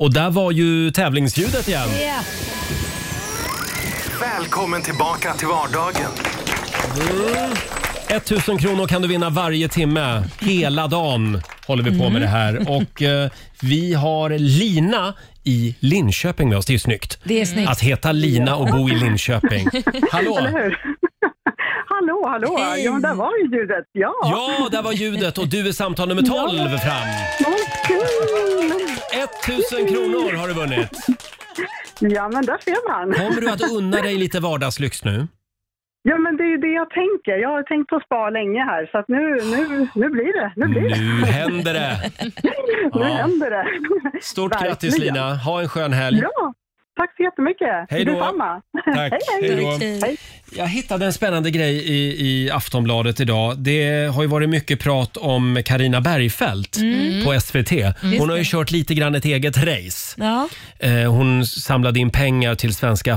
Och där var ju tävlingsljudet igen.
Välkommen tillbaka till vardagen.
1000 Mm. kronor kan du vinna varje timme. Hela dagen håller vi på med det
Mhm.
här. Och eh, vi har Lina i Linköping med oss. Det är ju snyggt.
Det
Mm.
är snyggt.
Att heta Lina och bo i
<laughs>
Linköping. Hallå!
Eller hur? <laughs> hallå, hallå! Ja, men där var ju ljudet. Ja!
Ja, där var ljudet och du är samtal nummer 12 fram.
Vad kul!
1000 kronor har du vunnit.
Ja, men där ser man.
Kommer du att unna dig lite vardagslyx nu?
Ja, men det är ju det jag tänker. Jag har tänkt på spa länge här, så att nu, nu, nu blir det. Nu blir det.
Nu händer det!
Nu
Mm. Ja.
händer det. <laughs>
Stort grattis
Verkligen.
Lina, ha en skön helg.
Ja, tack så jättemycket.
Hej då.
Detsamma.
Tack. Hej då.
Hej.
Jag hittade en spännande grej i, i Aftonbladet idag. Det har ju varit mycket prat om Karina Bergfeldt
Mm.
på SVT. Hon har ju kört lite grann ett eget race.
Ja.
Eh, Hon samlade in pengar till Svenska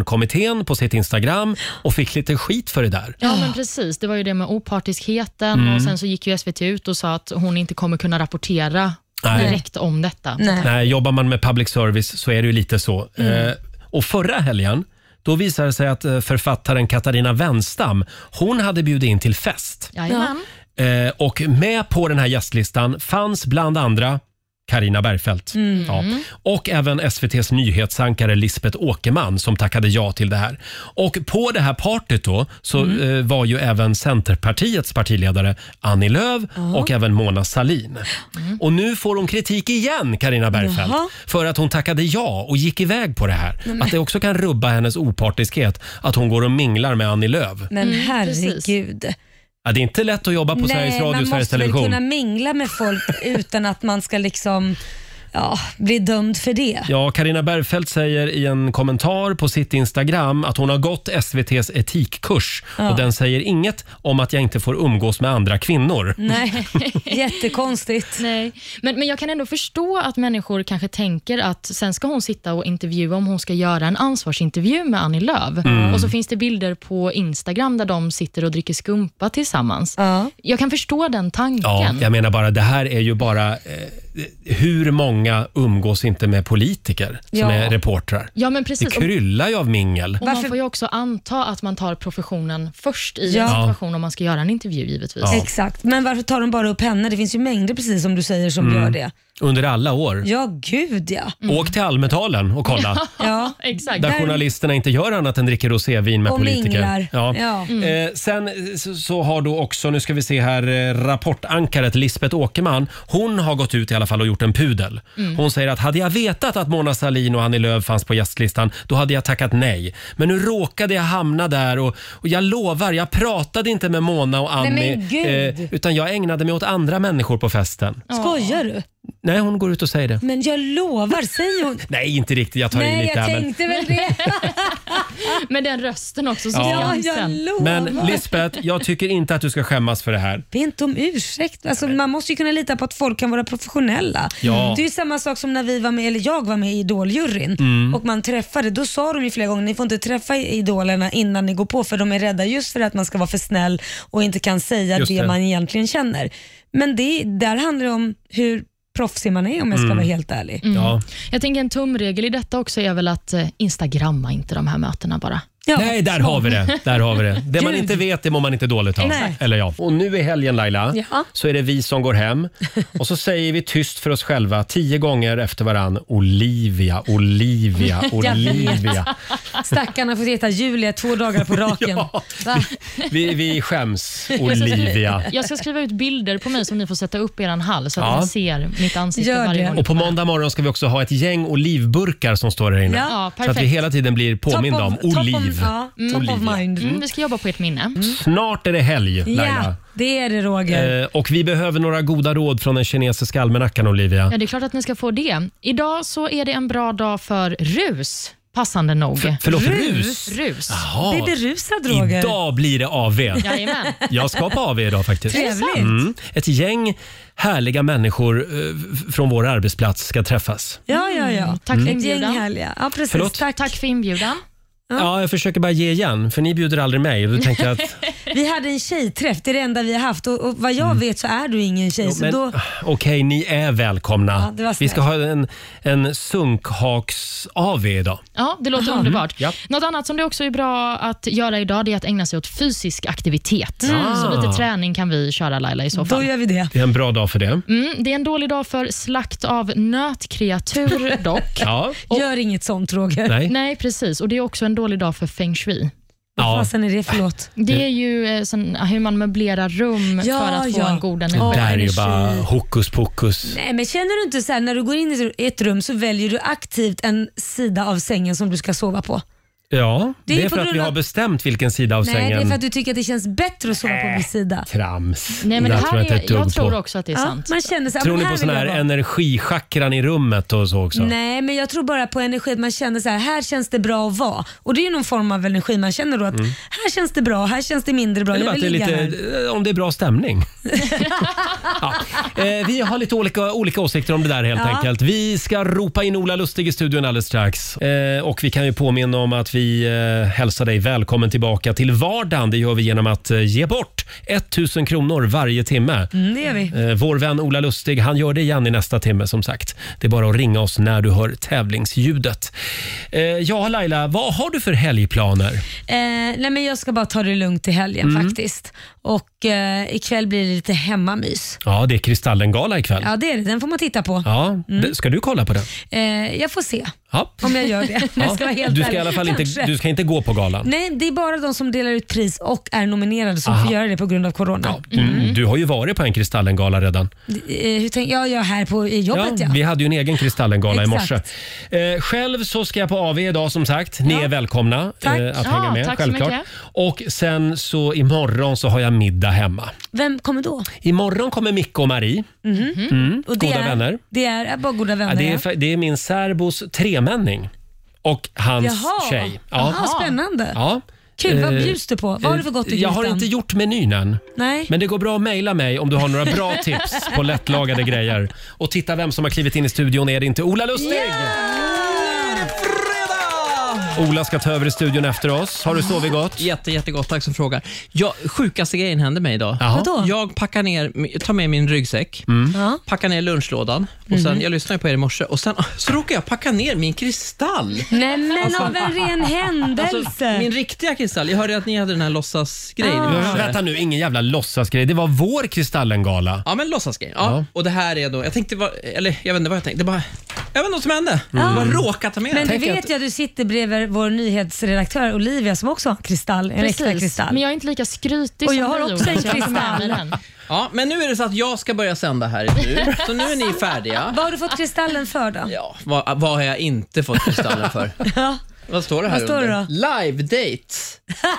Afghanistankommittén på sitt Instagram och fick lite skit för det där.
Ja, men precis. Det var ju det med opartiskheten
Mm.
och sen så gick ju SVT ut och sa att hon inte kommer kunna rapportera
Nej.
direkt om detta.
Nej, jobbar man med public service så är det ju lite så.
Mm.
Eh, och förra helgen, då visade det sig att eh, författaren Katarina Wenstam, hon hade bjudit in till fest.
Jajamän.
Eh, och med på den här gästlistan fanns bland andra Karina Bergfeldt.
Mm.
Ja. Och även SVTs nyhetsankare Lisbeth Åkerman som tackade ja till det här. Och på det här partyt då så
Mm.
eh, var ju även Centerpartiets partiledare Annie Lööf och även Mona Sahlin. Och nu får hon kritik igen, Karina Bergfeldt,
Mm. Jaha.
för att hon tackade ja och gick iväg på det här.
Nej, men-
Att det också kan rubba hennes opartiskhet att hon går och minglar med Annie Lööf.
Men
Mm,
herregud.
Ja, det är inte lätt att jobba på Sveriges Radio
man
och Sveriges
måste väl
Television.
kunna mingla med
<laughs>
folk utan att man ska liksom ja, bli dömd för det.
Ja, Karina Bergfeldt säger i en kommentar på sitt Instagram att hon har gått SVTs etikkurs
Ja.
och den säger inget om att jag inte får umgås med andra
Mm.
kvinnor.
<laughs> Nej,
jättekonstigt.
<laughs> Nej. Men, men jag kan ändå förstå att människor kanske tänker att sen ska hon sitta och intervjua om hon ska göra en ansvarsintervju med Annie Lööf.
Mm.
Och så finns det bilder på Instagram där de sitter och dricker skumpa tillsammans. Jag kan förstå den tanken.
Ja, jag menar bara, det här är ju bara... Eh, hur många umgås inte med politiker som
Ja.
är reportrar?
Ja, men precis.
Det kryllar ju av mingel.
Och Man får ju också anta att man tar professionen först i
Ja.
en situation om man ska göra en intervju givetvis.
Ja.
Exakt. Men varför tar de bara upp henne? Det finns ju mängder, precis som du säger, som
Mm.
gör det.
Under alla år.
Ja, gud ja.
Åk till Almedalen och kolla.
Ja,
<laughs> exakt.
Där journalisterna inte gör annat än dricker rosévin med
Och
politiker.
minglar.
Ja.
Ja. Mm.
Eh, sen så, så har då också, nu ska vi se här, eh, rapportankaret Lisbeth Åkerman. Hon har gått ut i alla fall och gjort en pudel.
Mm.
Hon säger att hade jag vetat att Mona Sahlin och Annie Lööf fanns på gästlistan, då hade jag tackat nej. Men nu råkade jag hamna där och, och jag lovar, jag pratade inte med Mona och
Nej,
Annie. eh,
men gud.
utan jag ägnade mig åt andra människor på festen.
Skojar du?
Nej, hon går ut och säger det.
Men jag lovar, säger hon.
Nej, inte riktigt. Jag tar i
Nej,
lite
jag
här, men...
tänkte väl
<laughs>
det.
Med den rösten också.
Ja.
Ja, jag
Skansen.
lovar.
Men Lisbeth, jag tycker inte att du ska skämmas för det här.
Mm.
Be inte om ursäkt. Alltså, man måste ju kunna lita på att folk kan vara professionella.
Ja.
Det är ju samma sak som när vi var med, eller jag var med i Idoljuryn
Mm.
och man träffade. Då sa de ju flera gånger, ni får inte träffa idolerna innan ni går på för de är rädda just för att man ska vara för snäll och inte kan säga
Just
det.
det.
man egentligen känner. Men det, där handlar det om hur proffsig man är om jag ska
Mm.
vara helt ärlig.
Mm. Jag tänker en tumregel i detta också är väl att eh, instagramma inte de här mötena bara.
Nej, där har vi det. Där har vi det. det man
Gud.
inte vet, det mår man inte dåligt av.
Nej.
Eller ja. Och nu i helgen Laila,
Ja.
så är det vi som går hem och så säger vi tyst för oss själva tio gånger efter varann Olivia,
<laughs>
Olivia, Olivia.
Stackarna får heta Julia två dagar på
<laughs>
raken. Va?
Vi, vi skäms,
Jag ska skriva- <laughs>
Olivia.
Jag ska skriva ut bilder på mig som ni får sätta upp i er hall så att
Ja.
ni ser mitt ansikte varje gång.
Och på måndag morgon ska vi också ha ett gäng olivburkar som står här inne.
Ja, ja,
så att vi
perfekt.
hela tiden blir påminda om oliv. Olivia.
Mm, vi ska jobba på ert minne.
Mm. Snart är det helg, Laila.
Ja, det är det Roger.
Eh, och vi behöver några goda råd från den kinesiska almanackan, Olivia.
Ja, det är klart att ni ska få det. Idag så är det en bra dag för rus, passande nog.
För- förlåt, rus? Ah.
Rus.
Jaha. Blir det
rusad
Idag blir det AV.
Jajamän.
Jag ska på AV idag faktiskt. Mm.
Trevligt.
Ett gäng härliga människor eh, f- från vår arbetsplats ska träffas.
Ja, ja, ja.
Tack för
Mm.
Ett gäng
inbjudan.
härliga. Ja, precis.
Förlåt?
Tack. för inbjudan.
Ja. jag försöker bara ge igen, för ni bjuder aldrig mig. Då tänkte jag att,
Vi hade en tjejträff, det är det enda vi har haft och, och vad jag vet så är du ingen tjej. så
Mm. men ah,
då,
okej, ni är
Ja,
välkomna.
det var
Vi
snällt.
ska ha en, en sunkhaks-AV idag.
Ja, det låter
Aha.
underbart.
Mm.
Något annat som det också är bra att göra idag det är att ägna sig åt fysisk aktivitet.
Mm.
Så lite
Ah.
träning kan vi köra Laila i så fall.
då gör vi det.
Det är en bra dag för det.
Mm, det är en dålig dag för slakt av
<laughs>
nötkreatur dock.
Ja.
Gör inget sånt Roger.
Nej.
<laughs> Nej, precis. Och Det är också en dålig dag för feng shui.
Ja.
Vad fasen är det för låt?
Det är ju eh, sån, hur man möblerar rum
Ja,
för att få
ja.
en god
Det
energi.
där är ju bara hokus pokus.
Nej, men känner du inte så här när du går in i ett rum så väljer du aktivt en sida av sängen som du ska sova på?
Ja, det
Det
är,
är
för
på
att vi
grund av-
har bestämt vilken sida av
Nej,
sängen.
det är för att du tycker att det känns bättre att sova på min sida.
Trams.
Nej, men det här
tror
är-
inte ett dugg
jag tror
på.
också att det är sant. Man känner så här,
Tror
men
ni
här
på sån
vill
här
jag vara.
energichakran i rummet och så också?
Nej, men jag tror bara på energi. att Man känner så här, här känns det bra att vara. Och det är ju någon form av energi man känner då att
Mm.
här känns det bra, här känns det mindre bra.
Eller
Jag
bara att
vill
det är
ligga
lite,
här.
eh, om det är
<laughs>
bra stämning. ja. eh, vi har lite olika, olika åsikter om det där helt
Ja.
enkelt. Vi ska ropa in Ola Lustig i studion alldeles strax. Eh, och vi kan ju påminna om att vi eh, hälsar dig välkommen tillbaka till vardagen. Det gör vi genom att eh, ge bort 1000 kronor varje timme.
Mm, det gör vi.
Eh, Vår vän Ola Lustig, han gör det igen i nästa timme som sagt. Det är bara att ringa oss när du hör tävlingsljudet. Eh, Ja, Laila, vad har du för helgplaner?
Eh, nej, men jag ska bara ta det lugnt i helgen
Mm.
faktiskt. Och eh, ikväll blir det lite hemmamys.
Ja, det är Kristallengala ikväll.
Ja, det är det. Den får man titta på.
Ja, det- ska du kolla på den?
Eh, jag får se
Ja.
om jag gör
<laughs>
det.
Ja,
Jag ska vara helt
du ska i
ärlig.
alla fall inte,
Kanske.
du ska inte gå på galan.
Nej, det är bara de som delar ut pris och är nominerade som
Aha.
får göra det på grund av corona.
Du, Mm.
Mm.
du har ju varit på en Kristallengala redan.
Eh, hur tänk, ja, jag är här på i jobbet ja.
Vi hade ju en egen Kristallengala i morse.
Exakt.
Eh, själv så ska jag på AV idag som sagt. Ni är välkomna
Tack.
eh, att
Ja,
hänga med.
tack så
självklart.
mycket.
Och sen så imorgon så har jag middag hemma.
Vem kommer då?
Imorgon kommer Micke och Marie.
Mhm.
Mm.
Och det
goda
är,
vänner.
Det är, är bara goda vänner.
Ja, det, är, fa- det är min särbos tremänning och hans
Jaha.
tjej.
Jaha, spännande.
Ja.
Kul, vad
Eh,
bjuds du på? Vad har du för gott i
Jag har
grytan?
inte gjort menyn än.
Nej.
Men det går bra att mejla mig om du har
<laughs>
några bra tips på lättlagade grejer. Och titta vem som har klivit in i studion. Är det inte Ola Lustig? Ola ska ta över i studion efter oss. Har du sovit gott?
Jätte, jättegott, tack som frågar. Ja, sjukaste grejen hände mig idag.
Vadå?
Jag packar ner, tar med min ryggsäck, packar ner lunchlådan och sen,
Mhm.
jag lyssnade på er i morse och sen <laughs> så råkar jag packa ner min kristall.
Nej men
Alltså-
av en <laughs> ren händelse.
Alltså, min riktiga kristall. Jag hörde att ni hade den här låtsasgrejen i
Men
morse.
Vänta nu, ingen jävla låtsasgrej. Det var vår Kristallengala.
Ja, men låtsasgrej. Ja. Och det här är då, jag tänkte, vad- eller jag vet inte vad jag tänkte, det bara, jag vet inte vad som hände.
Mm.
Jag bara råkade ta med
Men du
den.
vet ju att du sitter bredvid vår nyhetsredaktör Olivia som också har en kristall, en
Precis,
äkta kristall.
men jag är inte lika skrytig
Och
som
jag har
du,
också en
Jonas. Jag tar med mig
kristall.
den.
<laughs>
Ja, men nu är det så att jag ska börja sända här nu, så nu är ni färdiga.
Vad har du fått kristallen för då? Ja.
Vad, vad har jag inte fått
<laughs>
Kristallen för? Vad står det här
Vad står det
under? Live date.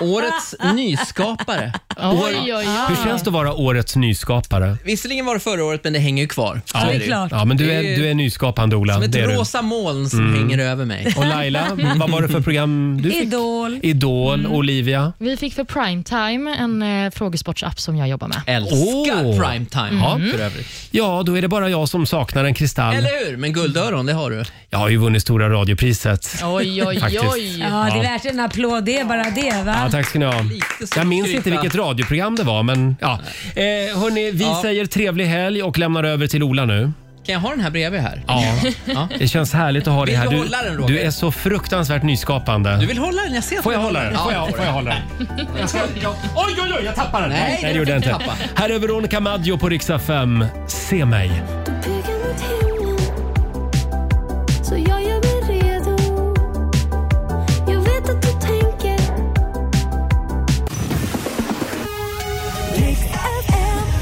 <laughs>
Årets nyskapare. År-
Hur känns det att vara årets nyskapare?
Visserligen var det förra året, men det hänger ju kvar. Så
Ja,
är det ju.
ja, men du är, du är nyskapande Ola.
Som ett
Det är du.
rosa moln som
Mm.
hänger över mig.
Och Laila, vad var det för program du fick?
Idol.
Idol, Olivia.
Vi fick för primetime en eh, frågesportsapp som jag jobbar med.
Älskar
Åh.
primetime
Ja.
för övrigt.
Ja, då är det bara jag som saknar en kristall.
Eller hur? Men guldöron, det har du.
Jag har ju vunnit Stora radiopriset. Faktiskt.
Ja, det är värt en applåd. Det är bara det va?
Ja, tack ska ni ha. Jag minns
skryta.
inte vilket radioprogram det var, men ja. Eh, hörni, vi
Ja.
säger trevlig helg och lämnar över till Ola nu.
Kan jag ha den här bredvid här?
Ja. Det känns härligt att ha dig
Vill
här.
du hålla den, Roger?
du är så fruktansvärt nyskapande.
Du vill hålla den? Jag ser att
Får jag
du
hålla den?
Ja,
Får jag-
det får
får jag
du.
hålla den? Jag ska- jag- Oj, oj, oj, jag tappade den.
Nej,
det gjorde jag inte.
tappa.
Här är Veronica Maggio på riksdag 5. Se mig.
Så jag gör mig redo Jag vet att du tänker